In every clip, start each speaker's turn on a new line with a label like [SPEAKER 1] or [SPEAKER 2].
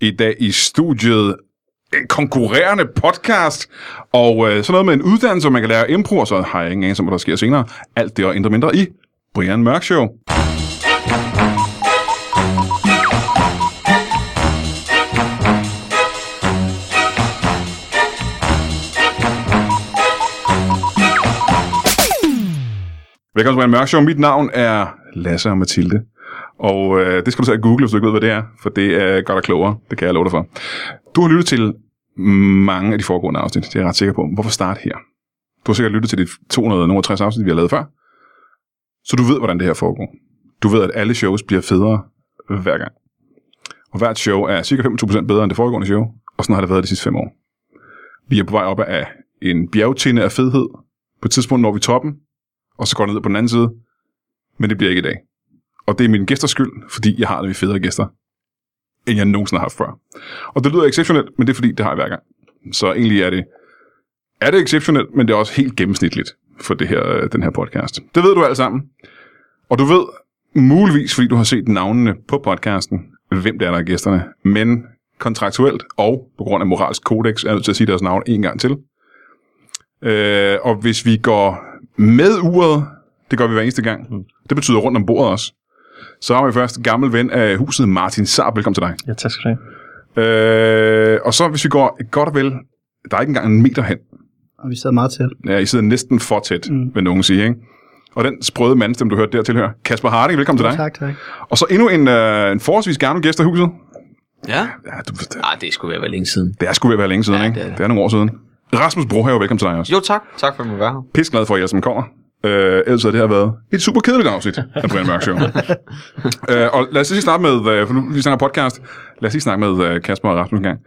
[SPEAKER 1] I dag i studiet en konkurrerende podcast, og øh, sådan noget med en uddannelse, hvor man kan lære impro, og så har jeg ingen anelse om, hvad der sker senere. Alt det og indre mindre i Brian Mørk Show. Velkommen til Brian Mørk Show. Mit navn er Lasse og Mathilde. Og øh, det skal du selv google, hvis du ikke ved, hvad det er, for det er godt og klogere. Det kan jeg love dig for. Du har lyttet til mange af de foregående afsnit, det er jeg ret sikker på. Hvorfor starte her? Du har sikkert lyttet til de 260 afsnit, vi har lavet før. Så du ved, hvordan det her foregår. Du ved, at alle shows bliver federe hver gang. Og hvert show er cirka 25% bedre end det foregående show, og sådan har det været de sidste fem år. Vi er på vej op af en bjergtinde af fedhed. På et tidspunkt når vi toppen, og så går det ned på den anden side. Men det bliver ikke i dag. Og det er min gæsters skyld, fordi jeg har det med federe gæster, end jeg nogensinde har haft før. Og det lyder exceptionelt, men det er fordi, det har jeg hver gang. Så egentlig er det, er det exceptionelt, men det er også helt gennemsnitligt for det her, øh, den her podcast. Det ved du alt sammen. Og du ved, muligvis fordi du har set navnene på podcasten, hvem det er, der er gæsterne. Men kontraktuelt og på grund af moralsk kodex, er jeg nødt til at sige deres navn en gang til. Øh, og hvis vi går med uret, det gør vi hver eneste gang. Det betyder rundt om bordet også. Så har vi først gammel ven af huset, Martin Saab. Velkommen til dig.
[SPEAKER 2] Ja, tak skal du have.
[SPEAKER 1] Øh, og så hvis vi går godt og vel, der er ikke engang en meter hen.
[SPEAKER 3] og vi sad meget til.
[SPEAKER 1] Ja, I sidder næsten for tæt, mm. vil nogen sige. Ikke? Og den sprøde mandstemme, du hørte der tilhører. Kasper Harding, velkommen til dig.
[SPEAKER 3] Tak, tak.
[SPEAKER 1] Og så endnu en, øh, en forholdsvis gammel gæst af huset.
[SPEAKER 4] Ja?
[SPEAKER 1] Ja, du,
[SPEAKER 4] Nej, Ah, det skulle være længe siden.
[SPEAKER 1] det er sgu ved at være længe siden,
[SPEAKER 4] Ja,
[SPEAKER 1] ikke?
[SPEAKER 4] det er det.
[SPEAKER 1] det er nogle år siden. Rasmus Brohave, velkommen til dig også.
[SPEAKER 4] Jo, tak. Tak for, at du var her.
[SPEAKER 1] Pisse glad for, at I alle sammen kommer. Øh, ellers havde det her været et super kedeligt afsnit af Brian Mørk Show. øh, og lad os lige starte med, øh, for nu vi snakker podcast, lad os lige snakke med øh, Kasper og Rasmus en gang.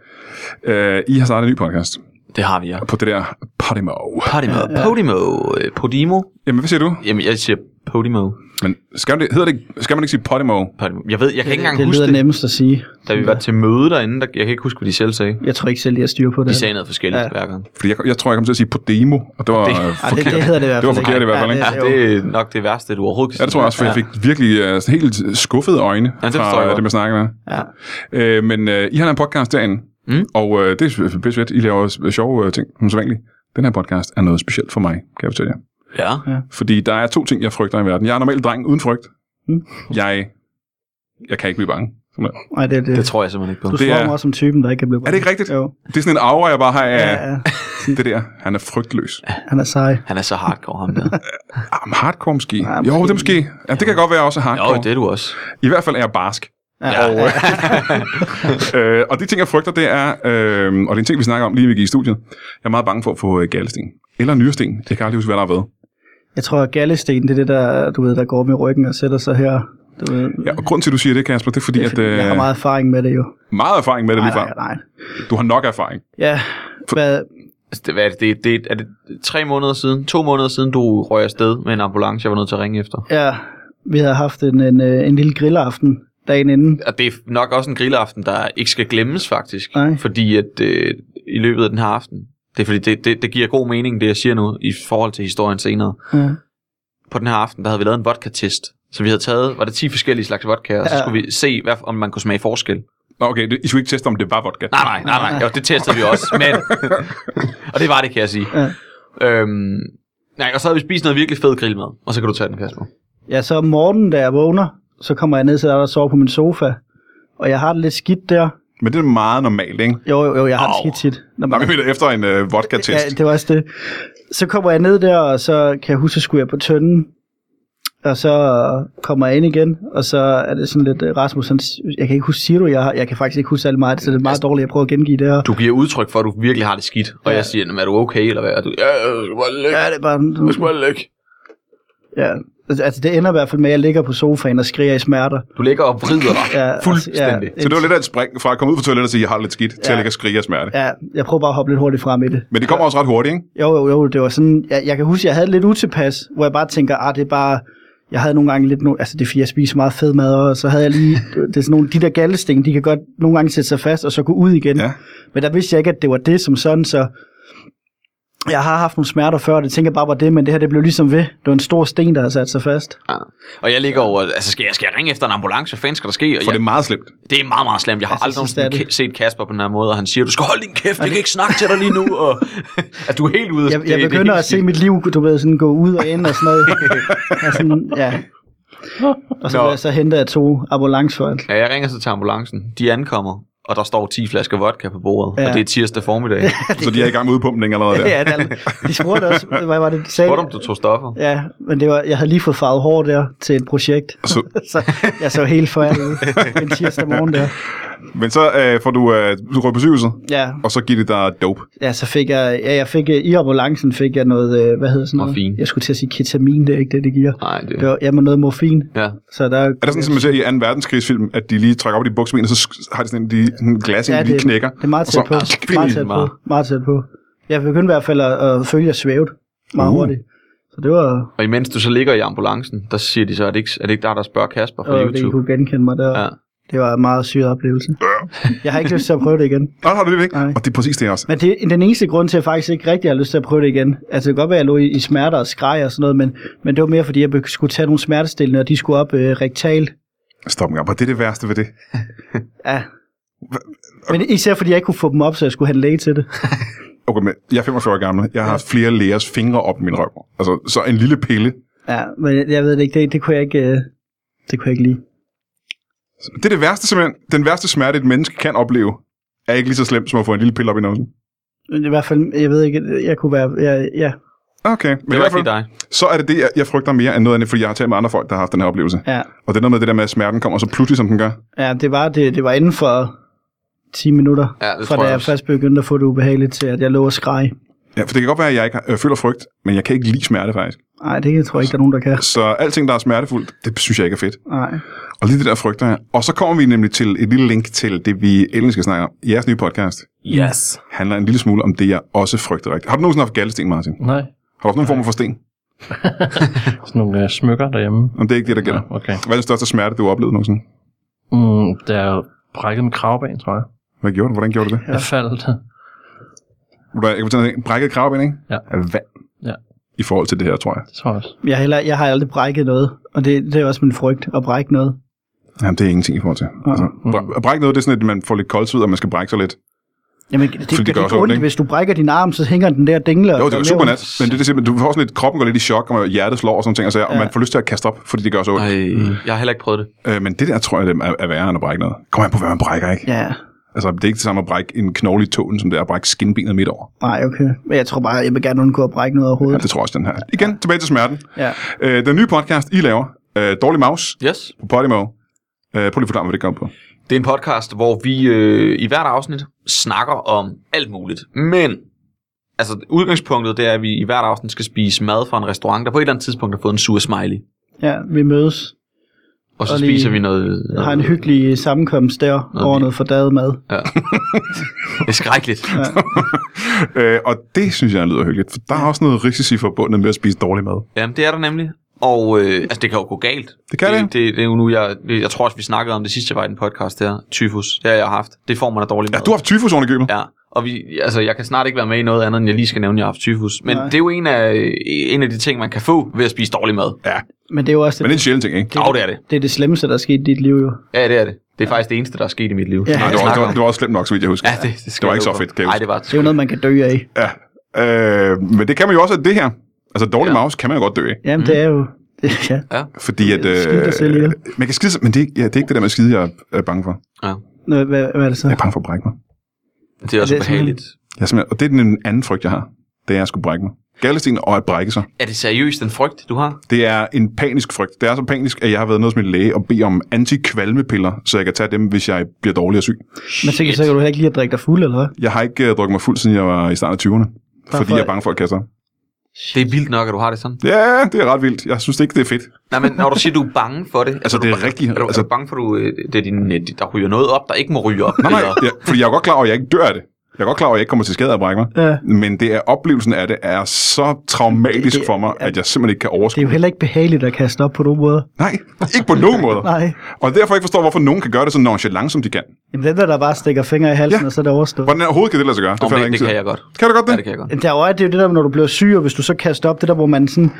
[SPEAKER 1] Øh, I har startet en ny podcast
[SPEAKER 4] Det har vi, ja.
[SPEAKER 1] på det der Podimo.
[SPEAKER 4] Podimo. Podimo. øh, Podimo.
[SPEAKER 1] Jamen, hvad siger du?
[SPEAKER 4] Jamen, jeg siger Podimo.
[SPEAKER 1] Men skal, det, hedder det, ikke- skal man ikke sige Podimo?
[SPEAKER 4] Podimo. Jeg ved, jeg kan ikke engang
[SPEAKER 3] Det
[SPEAKER 4] huske
[SPEAKER 3] lyder
[SPEAKER 4] det.
[SPEAKER 3] nemmest at sige.
[SPEAKER 4] Da vi var til møde derinde, der, jeg kan ikke huske, hvad de selv sagde.
[SPEAKER 3] Jeg tror ikke selv, jeg styrer på det.
[SPEAKER 4] De sagde noget forskelligt
[SPEAKER 3] Ja.
[SPEAKER 4] hver gang.
[SPEAKER 1] Fordi jeg, jeg tror, jeg kom til at sige Podemo, og det var
[SPEAKER 4] Det-
[SPEAKER 1] øh,
[SPEAKER 4] Ej, det-
[SPEAKER 3] Ej, det,
[SPEAKER 1] forkert.
[SPEAKER 3] det hedder det i hvert
[SPEAKER 1] Det var
[SPEAKER 3] fald
[SPEAKER 1] forkert i hvert fald,
[SPEAKER 3] Ja,
[SPEAKER 1] ikke?
[SPEAKER 4] Ja,
[SPEAKER 3] det-
[SPEAKER 4] det
[SPEAKER 3] jo.
[SPEAKER 4] er nok det værste, du overhovedet kan
[SPEAKER 1] Ja, det tror jeg også, for jeg
[SPEAKER 4] Ja.
[SPEAKER 1] fik virkelig øh, sådan helt skuffede øjne
[SPEAKER 4] Ja, det forstår
[SPEAKER 1] fra
[SPEAKER 4] jeg
[SPEAKER 1] øh,
[SPEAKER 4] godt.
[SPEAKER 1] dem, jeg snakker med.
[SPEAKER 3] Ja.
[SPEAKER 1] Øh, men øh, I har en podcast derinde, mm.
[SPEAKER 4] Mm.
[SPEAKER 1] og øh, det er bedst fedt. I laver også sjove øh, ting, som så vanligt. Den her podcast er noget specielt for mig, kan jeg fortælle jer.
[SPEAKER 4] Ja.
[SPEAKER 1] Fordi der er to ting, jeg frygter i verden. Jeg er normalt dreng uden frygt.
[SPEAKER 3] Mm.
[SPEAKER 1] Jeg, jeg kan ikke blive bange. simpelthen.
[SPEAKER 3] Nej, det, er det,
[SPEAKER 4] Det tror jeg simpelthen ikke på.
[SPEAKER 3] du
[SPEAKER 1] det
[SPEAKER 3] slår
[SPEAKER 1] er-
[SPEAKER 3] mig også som typen, der ikke kan blive
[SPEAKER 1] Er det ikke rigtigt?
[SPEAKER 3] Jo.
[SPEAKER 1] Det er sådan en aura, jeg bare har
[SPEAKER 3] Ja,
[SPEAKER 1] af
[SPEAKER 3] ja.
[SPEAKER 1] det der. Han er frygtløs.
[SPEAKER 3] Han er sej.
[SPEAKER 4] Han er så hardcore, ham der.
[SPEAKER 1] Ah, men hardcore måske.
[SPEAKER 3] Ja,
[SPEAKER 1] jo, det er måske. Ja, det kan godt være også er
[SPEAKER 4] Jo,
[SPEAKER 1] hardcore.
[SPEAKER 4] det er du også.
[SPEAKER 1] I hvert fald er jeg barsk.
[SPEAKER 3] Ja.
[SPEAKER 4] Ja.
[SPEAKER 3] ja.
[SPEAKER 1] øh, og de ting, jeg frygter, det er, øh, og det er en ting, vi snakker om lige i studiet, jeg er meget bange for at få øh, gallesten. Eller nyresten. Jeg kan aldrig huske, hvad der har været.
[SPEAKER 3] Jeg tror, at gallesten, det er det, der, du ved, der går op i ryggen og sætter sig her. Du ved,
[SPEAKER 1] Ja, og grunden til, at du siger det, Kasper, det er fordi,
[SPEAKER 3] det, er fordi,
[SPEAKER 1] at... Øh,
[SPEAKER 3] jeg har meget erfaring med det jo.
[SPEAKER 1] meget erfaring med det lige
[SPEAKER 3] nej,
[SPEAKER 1] frem.
[SPEAKER 3] nej, nej.
[SPEAKER 1] Du har nok erfaring.
[SPEAKER 3] Ja, hvad,
[SPEAKER 4] Altså, Det, hvad er, det, det, det, er det tre måneder siden, to måneder siden, du røg afsted med en ambulance, jeg var nødt til at ringe efter?
[SPEAKER 3] ja, vi havde haft en, en, øh, en lille grillaften dagen inden.
[SPEAKER 4] Og det er nok også en grillaften, der ikke skal glemmes faktisk.
[SPEAKER 3] Nej.
[SPEAKER 4] Fordi at øh, i løbet af den her aften, det er fordi, det, det, det giver god mening, det jeg siger nu, i forhold til historien senere.
[SPEAKER 3] Ja.
[SPEAKER 4] På den her aften, der havde vi lavet en vodka-test. Så vi havde taget, var det 10 forskellige slags vodka, og så
[SPEAKER 3] Ja.
[SPEAKER 4] skulle vi se, hvad, om man kunne smage forskel.
[SPEAKER 1] Nå, okay, det, I skulle ikke teste, om det var vodka.
[SPEAKER 4] Nej, nej, nej, nej. Jo, det testede vi også, men... og det var det, kan jeg sige.
[SPEAKER 3] Ja.
[SPEAKER 4] Øhm, nej, og så havde vi spist noget virkelig fed grillmad, og så kan du tage den, Kasper.
[SPEAKER 3] Ja, så om morgenen, da jeg vågner, så kommer jeg ned til dig og sover på min sofa. Og jeg har det lidt skidt der.
[SPEAKER 1] Men det er meget normalt, ikke?
[SPEAKER 3] Jo, jo, jo, jeg har det
[SPEAKER 4] Au.
[SPEAKER 3] skidt tit. Når
[SPEAKER 1] Nej, men jeg mener, efter en øh, vodka-test.
[SPEAKER 3] ja, det var også det. Så kommer jeg ned der, og så kan jeg huske, at skulle jeg på tønden. Og så kommer jeg ind igen, og så er det sådan lidt, øh, Rasmus, han, jeg kan ikke huske, siger du, jeg, har- jeg kan faktisk ikke huske særlig meget, så det er meget dårligt, jeg prøver at gengive det her.
[SPEAKER 4] Du giver udtryk for, at du virkelig har det skidt, og
[SPEAKER 3] Ja.
[SPEAKER 4] ja. jeg siger, "Nå, men er du okay, eller hvad? Og du, ja, jeg skal bare ligge.
[SPEAKER 3] Ja, det er bare,
[SPEAKER 4] Jeg skal bare ligge.
[SPEAKER 3] ja. Altså, Altså, det ender i hvert fald med, at jeg ligger på sofaen og skriger i smerter.
[SPEAKER 4] Du ligger og vrider dig.
[SPEAKER 3] Ja, altså,
[SPEAKER 4] Fuldstændig.
[SPEAKER 3] Ja,
[SPEAKER 1] Så det var lidt af et spring fra at komme ud fra toilettet og sige, jeg har det lidt skidt, til at
[SPEAKER 3] Ja.
[SPEAKER 1] ligge og skrige af smerte.
[SPEAKER 3] Ja, jeg prøver bare at hoppe lidt hurtigt frem i det.
[SPEAKER 1] Men det kommer også ret hurtigt, ikke?
[SPEAKER 3] Jo, jo, jo, det var sådan, jeg, jeg kan huske, jeg havde det lidt utilpas, hvor jeg bare tænker, ah, det er bare, jeg havde nogle gange lidt, no, altså det er fordi, jeg spiser meget fed mad, og så havde jeg lige, det er sådan nogle, de der gallesting, de kan godt nogle gange sætte sig fast, og så gå ud igen.
[SPEAKER 1] Ja.
[SPEAKER 3] Men der vidste jeg ikke, at det var det som sådan, så Jeg har haft nogle smerter før, det tænker jeg bare var det, men det her det blev ligesom ved. Det var en stor sten, der havde sat sig fast.
[SPEAKER 4] Ja. Ah. Og jeg ligger over, altså skal jeg, skal jeg ringe efter en ambulance? Hvad fanden skal der ske? Og
[SPEAKER 1] For
[SPEAKER 4] jeg,
[SPEAKER 1] det er meget slemt.
[SPEAKER 4] Det er meget, meget slemt. Jeg har
[SPEAKER 3] Altså,
[SPEAKER 4] aldrig
[SPEAKER 3] synes, det er
[SPEAKER 4] nogensinde ka- set Kasper på den her måde, og han siger, du skal holde din kæft, jeg kan ikke snakke til dig lige nu. Og, at du er helt ude.
[SPEAKER 3] Jeg,
[SPEAKER 4] Det-
[SPEAKER 3] jeg
[SPEAKER 4] det er
[SPEAKER 3] begynder at
[SPEAKER 4] helt
[SPEAKER 3] se
[SPEAKER 4] skidt.
[SPEAKER 3] mit liv, du ved, sådan gå ud og ind og sådan noget. og sådan, ja. Og så,
[SPEAKER 4] Nå.
[SPEAKER 3] blev jeg så henter jeg to ambulancefolk.
[SPEAKER 4] Ja, jeg ringer så til ambulancen. De ankommer, og der står 10 flasker vodka på bordet. Ja.
[SPEAKER 3] Ja.
[SPEAKER 4] Og det er tirsdag formiddag.
[SPEAKER 1] Så de er i gang med udpumpning allerede der.
[SPEAKER 3] Ja, der, de spurgte også, hvad var det, de sagde?
[SPEAKER 4] Spurgte om du tog stoffer.
[SPEAKER 3] Ja, men det var, jeg havde lige fået farvet hår der til et projekt.
[SPEAKER 1] Så,
[SPEAKER 3] så jeg så helt forærdet ud en tirsdag morgen der.
[SPEAKER 1] men så øh, får du, øh, du rører på sygehuset,
[SPEAKER 3] Ja,
[SPEAKER 1] og så giver de dig dope.
[SPEAKER 3] ja så fik jeg, ja, jeg fik, øh, i ambulancen fik jeg noget, øh, hvad hedder sådan noget?
[SPEAKER 4] Morfin.
[SPEAKER 3] Jeg skulle til at sige ketamin, det er ikke det, det giver.
[SPEAKER 4] Nej, det...
[SPEAKER 3] Det var, jamen noget morfin.
[SPEAKER 4] Ja.
[SPEAKER 3] Så der,
[SPEAKER 1] Er det sådan, som man ser i 2. verdenskrigsfilm, at de lige trækker op i de bukseben, og så sk- har de sådan en, de, sådan en glas, ja, de lige knækker?
[SPEAKER 3] Det er meget
[SPEAKER 1] og
[SPEAKER 3] tæt
[SPEAKER 1] så-
[SPEAKER 3] på. Meget tæt på. Meget tæt på. Jeg begyndte i hvert fald at, at følge at svævet meget
[SPEAKER 1] Uh.
[SPEAKER 3] uh. hurtigt. Så det var,
[SPEAKER 4] Og imens du så ligger i ambulancen, der siger de så, at det ikke, er det ikke der, der spørger Kasper fra
[SPEAKER 3] og det I
[SPEAKER 4] YouTube?
[SPEAKER 3] kunne genkende mig der.
[SPEAKER 4] Ja.
[SPEAKER 3] Ja. Det var en meget syg oplevelse. Jeg har ikke lyst til at prøve det igen.
[SPEAKER 1] Nej, har du det ikke?
[SPEAKER 3] Nej.
[SPEAKER 1] Og det er præcis det også.
[SPEAKER 3] Men det er den eneste grund til, at jeg faktisk ikke rigtig har lyst til at prøve det igen. Altså det kan godt være, at jeg lå i, i smerter og skreg og sådan noget, men, men det var mere, fordi jeg be- skulle tage nogle smertestillende, og de skulle op øh, rektalt.
[SPEAKER 1] Stop en gang. Var det det værste ved det?
[SPEAKER 3] Ja. Men især fordi jeg ikke kunne få dem op, så jeg skulle have en læge til det.
[SPEAKER 1] Okay, men jeg er 45 år gammel. Jeg har haft flere lægers fingre op i min røv. Altså, så en lille pille.
[SPEAKER 3] Ja, men jeg ved det ikke, det, det kunne jeg ikke... Øh, det kunne jeg ikke lide.
[SPEAKER 1] Det er det værste, simpelthen. Den værste smerte, et menneske kan opleve, er ikke lige så slemt, som at få en lille pille op i nosen.
[SPEAKER 3] Men I hvert fald, jeg ved ikke, jeg kunne være... Jeg, ja,
[SPEAKER 1] Okay, men
[SPEAKER 4] Det
[SPEAKER 1] i
[SPEAKER 4] var
[SPEAKER 1] hvert
[SPEAKER 4] ikke
[SPEAKER 1] fald,
[SPEAKER 4] lige dig.
[SPEAKER 1] så er det det, jeg, jeg frygter mere end noget andet, fordi jeg har talt med andre folk, der har haft den her oplevelse.
[SPEAKER 3] ja,
[SPEAKER 1] Og det er noget med det der med, at smerten kommer så pludselig, som den gør.
[SPEAKER 3] ja det, var, det, det var inden for 10 minutter,
[SPEAKER 4] Ja, det
[SPEAKER 3] fra da
[SPEAKER 4] tror jeg
[SPEAKER 3] jeg
[SPEAKER 4] også.
[SPEAKER 3] først begyndte at få det ubehageligt til, at jeg lå og skreg.
[SPEAKER 1] Ja, for det kan godt være, at jeg ikke har- øh, føler frygt, men jeg kan ikke lide smerte faktisk.
[SPEAKER 3] Nej, det tror jeg ikke, der er nogen, der kan.
[SPEAKER 1] Så alting, der er smertefuldt, det synes jeg ikke er fedt.
[SPEAKER 3] Nej.
[SPEAKER 1] Og lige det der frygter jeg. Og så kommer vi nemlig til et lille link til det, vi endelig skal snakke om. Jeres nye podcast
[SPEAKER 2] Yes.
[SPEAKER 1] handler en lille smule om det, jeg også frygter rigtigt. Har du nogensinde haft galdesten, Martin?
[SPEAKER 2] Nej.
[SPEAKER 1] Har du haft nogen form for sten?
[SPEAKER 2] Sådan nogle øh, smykker derhjemme.
[SPEAKER 1] Om det er ikke det, der gælder.
[SPEAKER 2] Nå, okay.
[SPEAKER 1] Hvad er den største smerte, du har oplevet nogensinde?
[SPEAKER 2] Mm, der er jo brækket med kravben, tror jeg.
[SPEAKER 1] Hvad gjorde du? Hvordan gjorde du det?
[SPEAKER 2] Ja. Jeg faldt.
[SPEAKER 1] Ved du hvad, Jeg kan fortælle dig, en brækket kravben, ikke?
[SPEAKER 2] Ja.
[SPEAKER 1] Af vand.
[SPEAKER 2] Ja.
[SPEAKER 1] I forhold til det her, tror jeg.
[SPEAKER 2] Det tror jeg også.
[SPEAKER 3] Jeg, har heller, jeg har aldrig brækket noget, og det, det er også min frygt, at brække noget.
[SPEAKER 1] Jamen, det er ingenting i forhold til. Altså, br- at brække noget, det er sådan, at man får lidt koldsved, og man skal brække sig lidt.
[SPEAKER 3] Jamen, det, det,
[SPEAKER 1] det
[SPEAKER 3] det,
[SPEAKER 1] gør
[SPEAKER 3] det,
[SPEAKER 1] også
[SPEAKER 3] det
[SPEAKER 1] ondt,
[SPEAKER 3] ondt,
[SPEAKER 1] ikke?
[SPEAKER 3] hvis du brækker din arm, så hænger den der og dingler.
[SPEAKER 1] Jo,
[SPEAKER 3] og
[SPEAKER 1] det
[SPEAKER 3] gør
[SPEAKER 1] er
[SPEAKER 3] mere
[SPEAKER 1] super
[SPEAKER 3] ondt.
[SPEAKER 1] nat, men det er det simpelthen, du får sådan lidt, kroppen går lidt i chok, og hjertet slår og sådan ting, og, sager, og
[SPEAKER 3] Ja.
[SPEAKER 1] man får lyst til at kaste op, fordi det gør så ondt.
[SPEAKER 4] Ej, jeg har heller ikke prøvet det.
[SPEAKER 1] Øh, men det der, tror jeg, det er, er værre end at brække noget. Kom an på, hvad man brækker, ikke?
[SPEAKER 3] Ja,
[SPEAKER 1] Altså, det er ikke det samme at brække en knogle i tåen, som det er at brække skinbenet midt over.
[SPEAKER 3] nej, okay. Men jeg tror bare, jeg vil gerne undgå at brække noget
[SPEAKER 1] Ja,
[SPEAKER 3] overhovedet.
[SPEAKER 1] det tror jeg også, den her. Igen, tilbage til smerten.
[SPEAKER 3] Ja.
[SPEAKER 1] Øh, den nye podcast, I laver, øh, Dårlig Maus
[SPEAKER 4] Yes.
[SPEAKER 1] på Podimo. Øh, prøv lige at forklare, hvad det går på.
[SPEAKER 4] Det er en podcast, hvor vi øh, i hvert afsnit snakker om alt muligt. Men altså, udgangspunktet det er, at vi i hvert afsnit skal spise mad fra en restaurant, der på et eller andet tidspunkt har fået en sur smiley.
[SPEAKER 3] ja, vi mødes.
[SPEAKER 4] Og så
[SPEAKER 3] Og
[SPEAKER 4] og
[SPEAKER 3] lige-
[SPEAKER 4] spiser vi noget...
[SPEAKER 3] Jeg har en hyggelig sammenkomst der
[SPEAKER 4] Nå,
[SPEAKER 3] over
[SPEAKER 4] vi-
[SPEAKER 3] noget fordaget mad.
[SPEAKER 4] Ja. det er skrækkeligt.
[SPEAKER 1] Øh, og det synes jeg lyder hyggeligt, for der er også noget risici forbundet med at spise dårlig mad.
[SPEAKER 4] Jamen, det er der nemlig. Og øh, altså, det kan jo gå galt.
[SPEAKER 1] Det kan det.
[SPEAKER 4] Det, det, det er jo nu, jeg, jeg tror også, vi snakkede om det sidste, jeg var i den podcast her. Tyfus, det har jeg haft. Det får man af dårlig
[SPEAKER 1] Ja,
[SPEAKER 4] mad.
[SPEAKER 1] du har haft tyfus oven i købet.
[SPEAKER 4] Ja, og vi, altså, jeg kan snart ikke være med i noget andet, end jeg lige skal nævne, at jeg har haft tyfus. Men Nej.
[SPEAKER 3] Nej.
[SPEAKER 4] det er jo en af, en af de ting, man kan få ved at spise dårlig mad.
[SPEAKER 3] Men det er jo også
[SPEAKER 1] Men det er en sjælden ting, ikke?
[SPEAKER 4] Ja, det er det.
[SPEAKER 3] det, er det slemmeste, der er sket i dit liv jo.
[SPEAKER 4] Ja, det er det. Det er faktisk det eneste, der er sket i mit liv.
[SPEAKER 3] Ja.
[SPEAKER 1] Nej, det
[SPEAKER 4] jeg
[SPEAKER 1] var, det,
[SPEAKER 4] snakker
[SPEAKER 1] var,
[SPEAKER 4] om.
[SPEAKER 1] det var også slemt nok, så vidt jeg husker.
[SPEAKER 4] Ja, det, det, skal
[SPEAKER 1] Det var
[SPEAKER 4] jeg
[SPEAKER 1] ikke
[SPEAKER 4] love
[SPEAKER 1] så
[SPEAKER 4] for.
[SPEAKER 1] fedt, kan jeg
[SPEAKER 4] Nej,
[SPEAKER 1] huske.
[SPEAKER 4] det var
[SPEAKER 3] Det er jo noget, man kan dø af.
[SPEAKER 1] Ja. Øh, men det kan man jo også af det her. Altså, dårlig
[SPEAKER 4] Ja.
[SPEAKER 1] ja. mouse kan man jo godt dø af.
[SPEAKER 3] Jamen, mm. det er jo... ja.
[SPEAKER 1] Fordi at... øh,
[SPEAKER 3] Skide dig selv ihjel.
[SPEAKER 1] man kan skide sig, men det, er ikke- ja, det er ikke det der med at skide, jeg er- er bange for.
[SPEAKER 3] Nå, Hvad, hvad er det så?
[SPEAKER 1] Jeg er bange for at brække mig.
[SPEAKER 4] det er også
[SPEAKER 3] Ja, det er simpelthen-
[SPEAKER 4] ubehageligt.
[SPEAKER 1] Jeg er simpelthen- og det er den anden frygt, jeg har. Det er at skulle brække mig. Gallesten og at brække sig.
[SPEAKER 4] Er det seriøst den frygt, du har?
[SPEAKER 1] Det er en panisk frygt. Det er så panisk, at jeg har været nede hos min læge og bede om antikvalmepiller, så jeg kan tage dem, hvis jeg bliver dårlig og syg.
[SPEAKER 3] Men så, kan- så kan du heller ikke lige at drikke dig fuld, eller hvad?
[SPEAKER 1] Jeg har ikke uh, drukket mig fuld, siden jeg var i starten af 20'erne. Fordi
[SPEAKER 3] for-
[SPEAKER 1] jeg er bange for at kaste op.
[SPEAKER 4] Det er vildt nok, at du har det sådan.
[SPEAKER 1] Ja, det er ret vildt. Jeg synes ikke, det er fedt.
[SPEAKER 4] Nej, men når du siger, du er bange for det...
[SPEAKER 1] Altså,
[SPEAKER 4] du
[SPEAKER 1] det er
[SPEAKER 4] bange-
[SPEAKER 1] rigtigt.
[SPEAKER 4] Er du, altså,
[SPEAKER 1] Altså-
[SPEAKER 4] er du bange for, at du, øh, det er din, øh, der ryger noget op, der ikke må ryge op?
[SPEAKER 1] Nej, nej,
[SPEAKER 4] eller-
[SPEAKER 1] jeg, fordi jeg er jo godt klar over, at jeg ikke dør af det. Jeg er godt klar over, at jeg ikke kommer til skade af at brække mig,
[SPEAKER 3] Ja.
[SPEAKER 1] men det er, oplevelsen af det er så traumatisk
[SPEAKER 3] Det-
[SPEAKER 1] for mig, at jeg simpelthen ikke kan
[SPEAKER 3] Det er
[SPEAKER 1] overskue.
[SPEAKER 3] jo heller ikke behageligt at kaste op på nogen måde.
[SPEAKER 1] Nej, ikke på nogen måde.
[SPEAKER 3] Nej.
[SPEAKER 1] Og derfor ikke forstår, hvorfor nogen kan gøre det så nonchalant, som de kan.
[SPEAKER 3] Jamen, den der, der bare stikker fingre i halsen,
[SPEAKER 1] Ja.
[SPEAKER 3] ja. og så er det overstået.
[SPEAKER 1] Hvordan er overhovedet kan det lade sig gøre?
[SPEAKER 4] Om
[SPEAKER 1] fatter
[SPEAKER 4] det, det
[SPEAKER 1] ingen
[SPEAKER 4] kan
[SPEAKER 1] tid.
[SPEAKER 4] jeg godt.
[SPEAKER 1] Kan du godt det?
[SPEAKER 4] Ja, det kan jeg godt.
[SPEAKER 3] Men Derovre er det jo det der, når du bliver syg, og hvis du så kaster op, det der, hvor man sådan,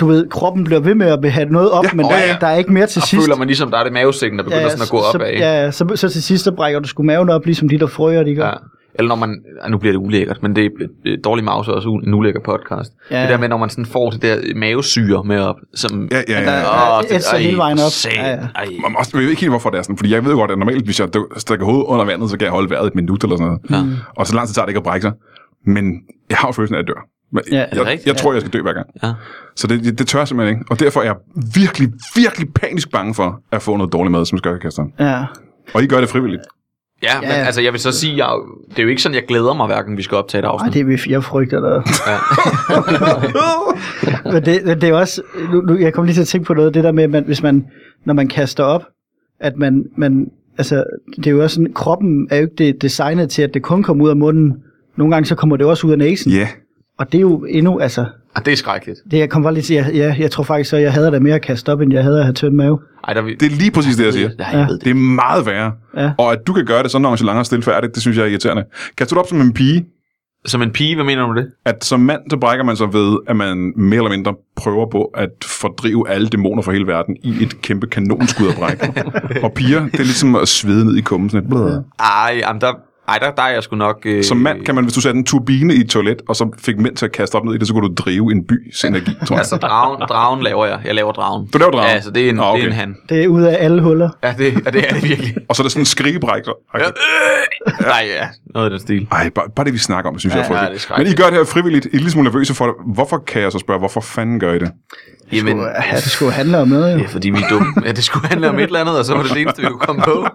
[SPEAKER 3] du ved, kroppen bliver ved med at have noget op,
[SPEAKER 1] Ja,
[SPEAKER 3] ja, men
[SPEAKER 1] åh,
[SPEAKER 3] der,
[SPEAKER 1] ja.
[SPEAKER 3] der er ikke mere til
[SPEAKER 4] Og
[SPEAKER 3] sidst.
[SPEAKER 4] føler man ligesom, der er det mavesækken, der begynder ja, sådan at gå
[SPEAKER 3] så,
[SPEAKER 4] op af.
[SPEAKER 3] ja, ja, så, så til sidst, så brækker du sgu maven op, ligesom de der frøer, de gør.
[SPEAKER 4] Ja. Eller når man, ah, nu bliver det ulækkert, men det er øh, dårlig mause er også u- en ulækker podcast. Ja.
[SPEAKER 3] Ja.
[SPEAKER 4] Det der med, når man sådan får det der mavesyre med op, som...
[SPEAKER 1] Ja, ja, ja.
[SPEAKER 3] Ja,
[SPEAKER 4] Åh,
[SPEAKER 3] det ætser
[SPEAKER 4] ej,
[SPEAKER 3] hele vejen op.
[SPEAKER 4] sat-
[SPEAKER 3] Ja, ja.
[SPEAKER 4] ej.
[SPEAKER 1] Man må også, jeg ved ikke helt, hvorfor det er sådan, fordi jeg ved godt, at normalt, hvis jeg dyk- stikker hovedet under vandet, så kan jeg holde vejret et minut eller sådan noget.
[SPEAKER 4] Ja.
[SPEAKER 1] Og så lang tid tager det ikke at brække sig. Men jeg har jo følelsen af, at jeg dør. Men
[SPEAKER 3] Ja,
[SPEAKER 1] jeg,
[SPEAKER 3] er det
[SPEAKER 1] jeg,
[SPEAKER 4] rigtigt?
[SPEAKER 1] jeg tror, jeg skal dø hver gang.
[SPEAKER 4] Ja.
[SPEAKER 1] Så det, det, det tør jeg simpelthen ikke. Og derfor er jeg virkelig, virkelig panisk bange for at få noget dårlig mad som skørkekasteren.
[SPEAKER 3] Ja.
[SPEAKER 1] Og I gør det frivilligt.
[SPEAKER 4] ja, men
[SPEAKER 3] Ja, ja.
[SPEAKER 4] altså, jeg vil så sige, jeg, det er jo ikke sådan, jeg glæder mig, hverken vi skal optage et
[SPEAKER 3] Ej,
[SPEAKER 4] afsnit.
[SPEAKER 3] det er vi fire frygter, der.
[SPEAKER 4] Ja.
[SPEAKER 3] Men det, men det er jo også, nu, nu, jeg kom lige til at tænke på noget, det der med, at man, hvis man, når man kaster op, at man, man altså, det er jo også sådan, kroppen er jo ikke det, designet til, at det kun kommer ud af munden. Nogle gange så kommer det også ud af næsen,
[SPEAKER 1] Ja.
[SPEAKER 3] og det er jo endnu, altså,
[SPEAKER 4] Ah, det er skrækkeligt.
[SPEAKER 3] det jeg kom bare lige til, jeg, jeg, jeg tror faktisk så, jeg hader det mere at kaste op, end jeg hader at have tynd mave.
[SPEAKER 4] Ej, der, det,
[SPEAKER 1] Det er lige præcis det, jeg siger.
[SPEAKER 4] Ja, jeg ved det.
[SPEAKER 1] Det er meget værre.
[SPEAKER 3] Ja.
[SPEAKER 1] Og at du kan gøre det så nonchalant og stillfærdigt, det synes jeg er irriterende. Kaster du op som en pige,
[SPEAKER 4] Som en pige, hvad mener du med det?
[SPEAKER 1] at som mand, så brækker man sig ved, at man mere eller mindre prøver på at fordrive alle dæmoner fra hele verden i et kæmpe kanonskud af bræk. og piger, det er ligesom at svede ned i kummen. Sådan et.
[SPEAKER 4] Ej, jamen, der, ej der, der er jeg sgu nok... Øh,
[SPEAKER 1] Som mand kan man, hvis du satte en turbine i et toilet, og så fik mænd til at kaste op ned i det, så kunne du drive en bys energi, tror jeg.
[SPEAKER 4] Altså, dragen, dragen laver jeg. Jeg laver dragen.
[SPEAKER 1] Du laver dragen?
[SPEAKER 4] Ja, så det er en,
[SPEAKER 1] Nå,
[SPEAKER 4] ah, okay. det
[SPEAKER 1] okay.
[SPEAKER 4] er en han.
[SPEAKER 3] Det er ud af alle huller.
[SPEAKER 4] Ja, det, ja, det er det virkelig.
[SPEAKER 1] Og så er der sådan en skrigebræk. så- Okay.
[SPEAKER 4] Ja. Øh, nej, ja. Noget af den stil.
[SPEAKER 1] Ej, bare, bare det, vi snakker om, synes ja, jeg er
[SPEAKER 4] Ja, ja,
[SPEAKER 1] frygteligt.
[SPEAKER 4] det er
[SPEAKER 1] Men I
[SPEAKER 4] skrækkeligt.
[SPEAKER 1] gør det her frivilligt. I er lidt smule nervøse for det. Hvorfor kan jeg så spørge, hvorfor fanden gør I det?
[SPEAKER 4] Jamen,
[SPEAKER 3] Skulle, ja, det skulle handle om noget, jo.
[SPEAKER 4] ja, fordi vi er dumme. Ja, det skulle handle om et eller andet, og så var det det eneste, vi kunne komme på.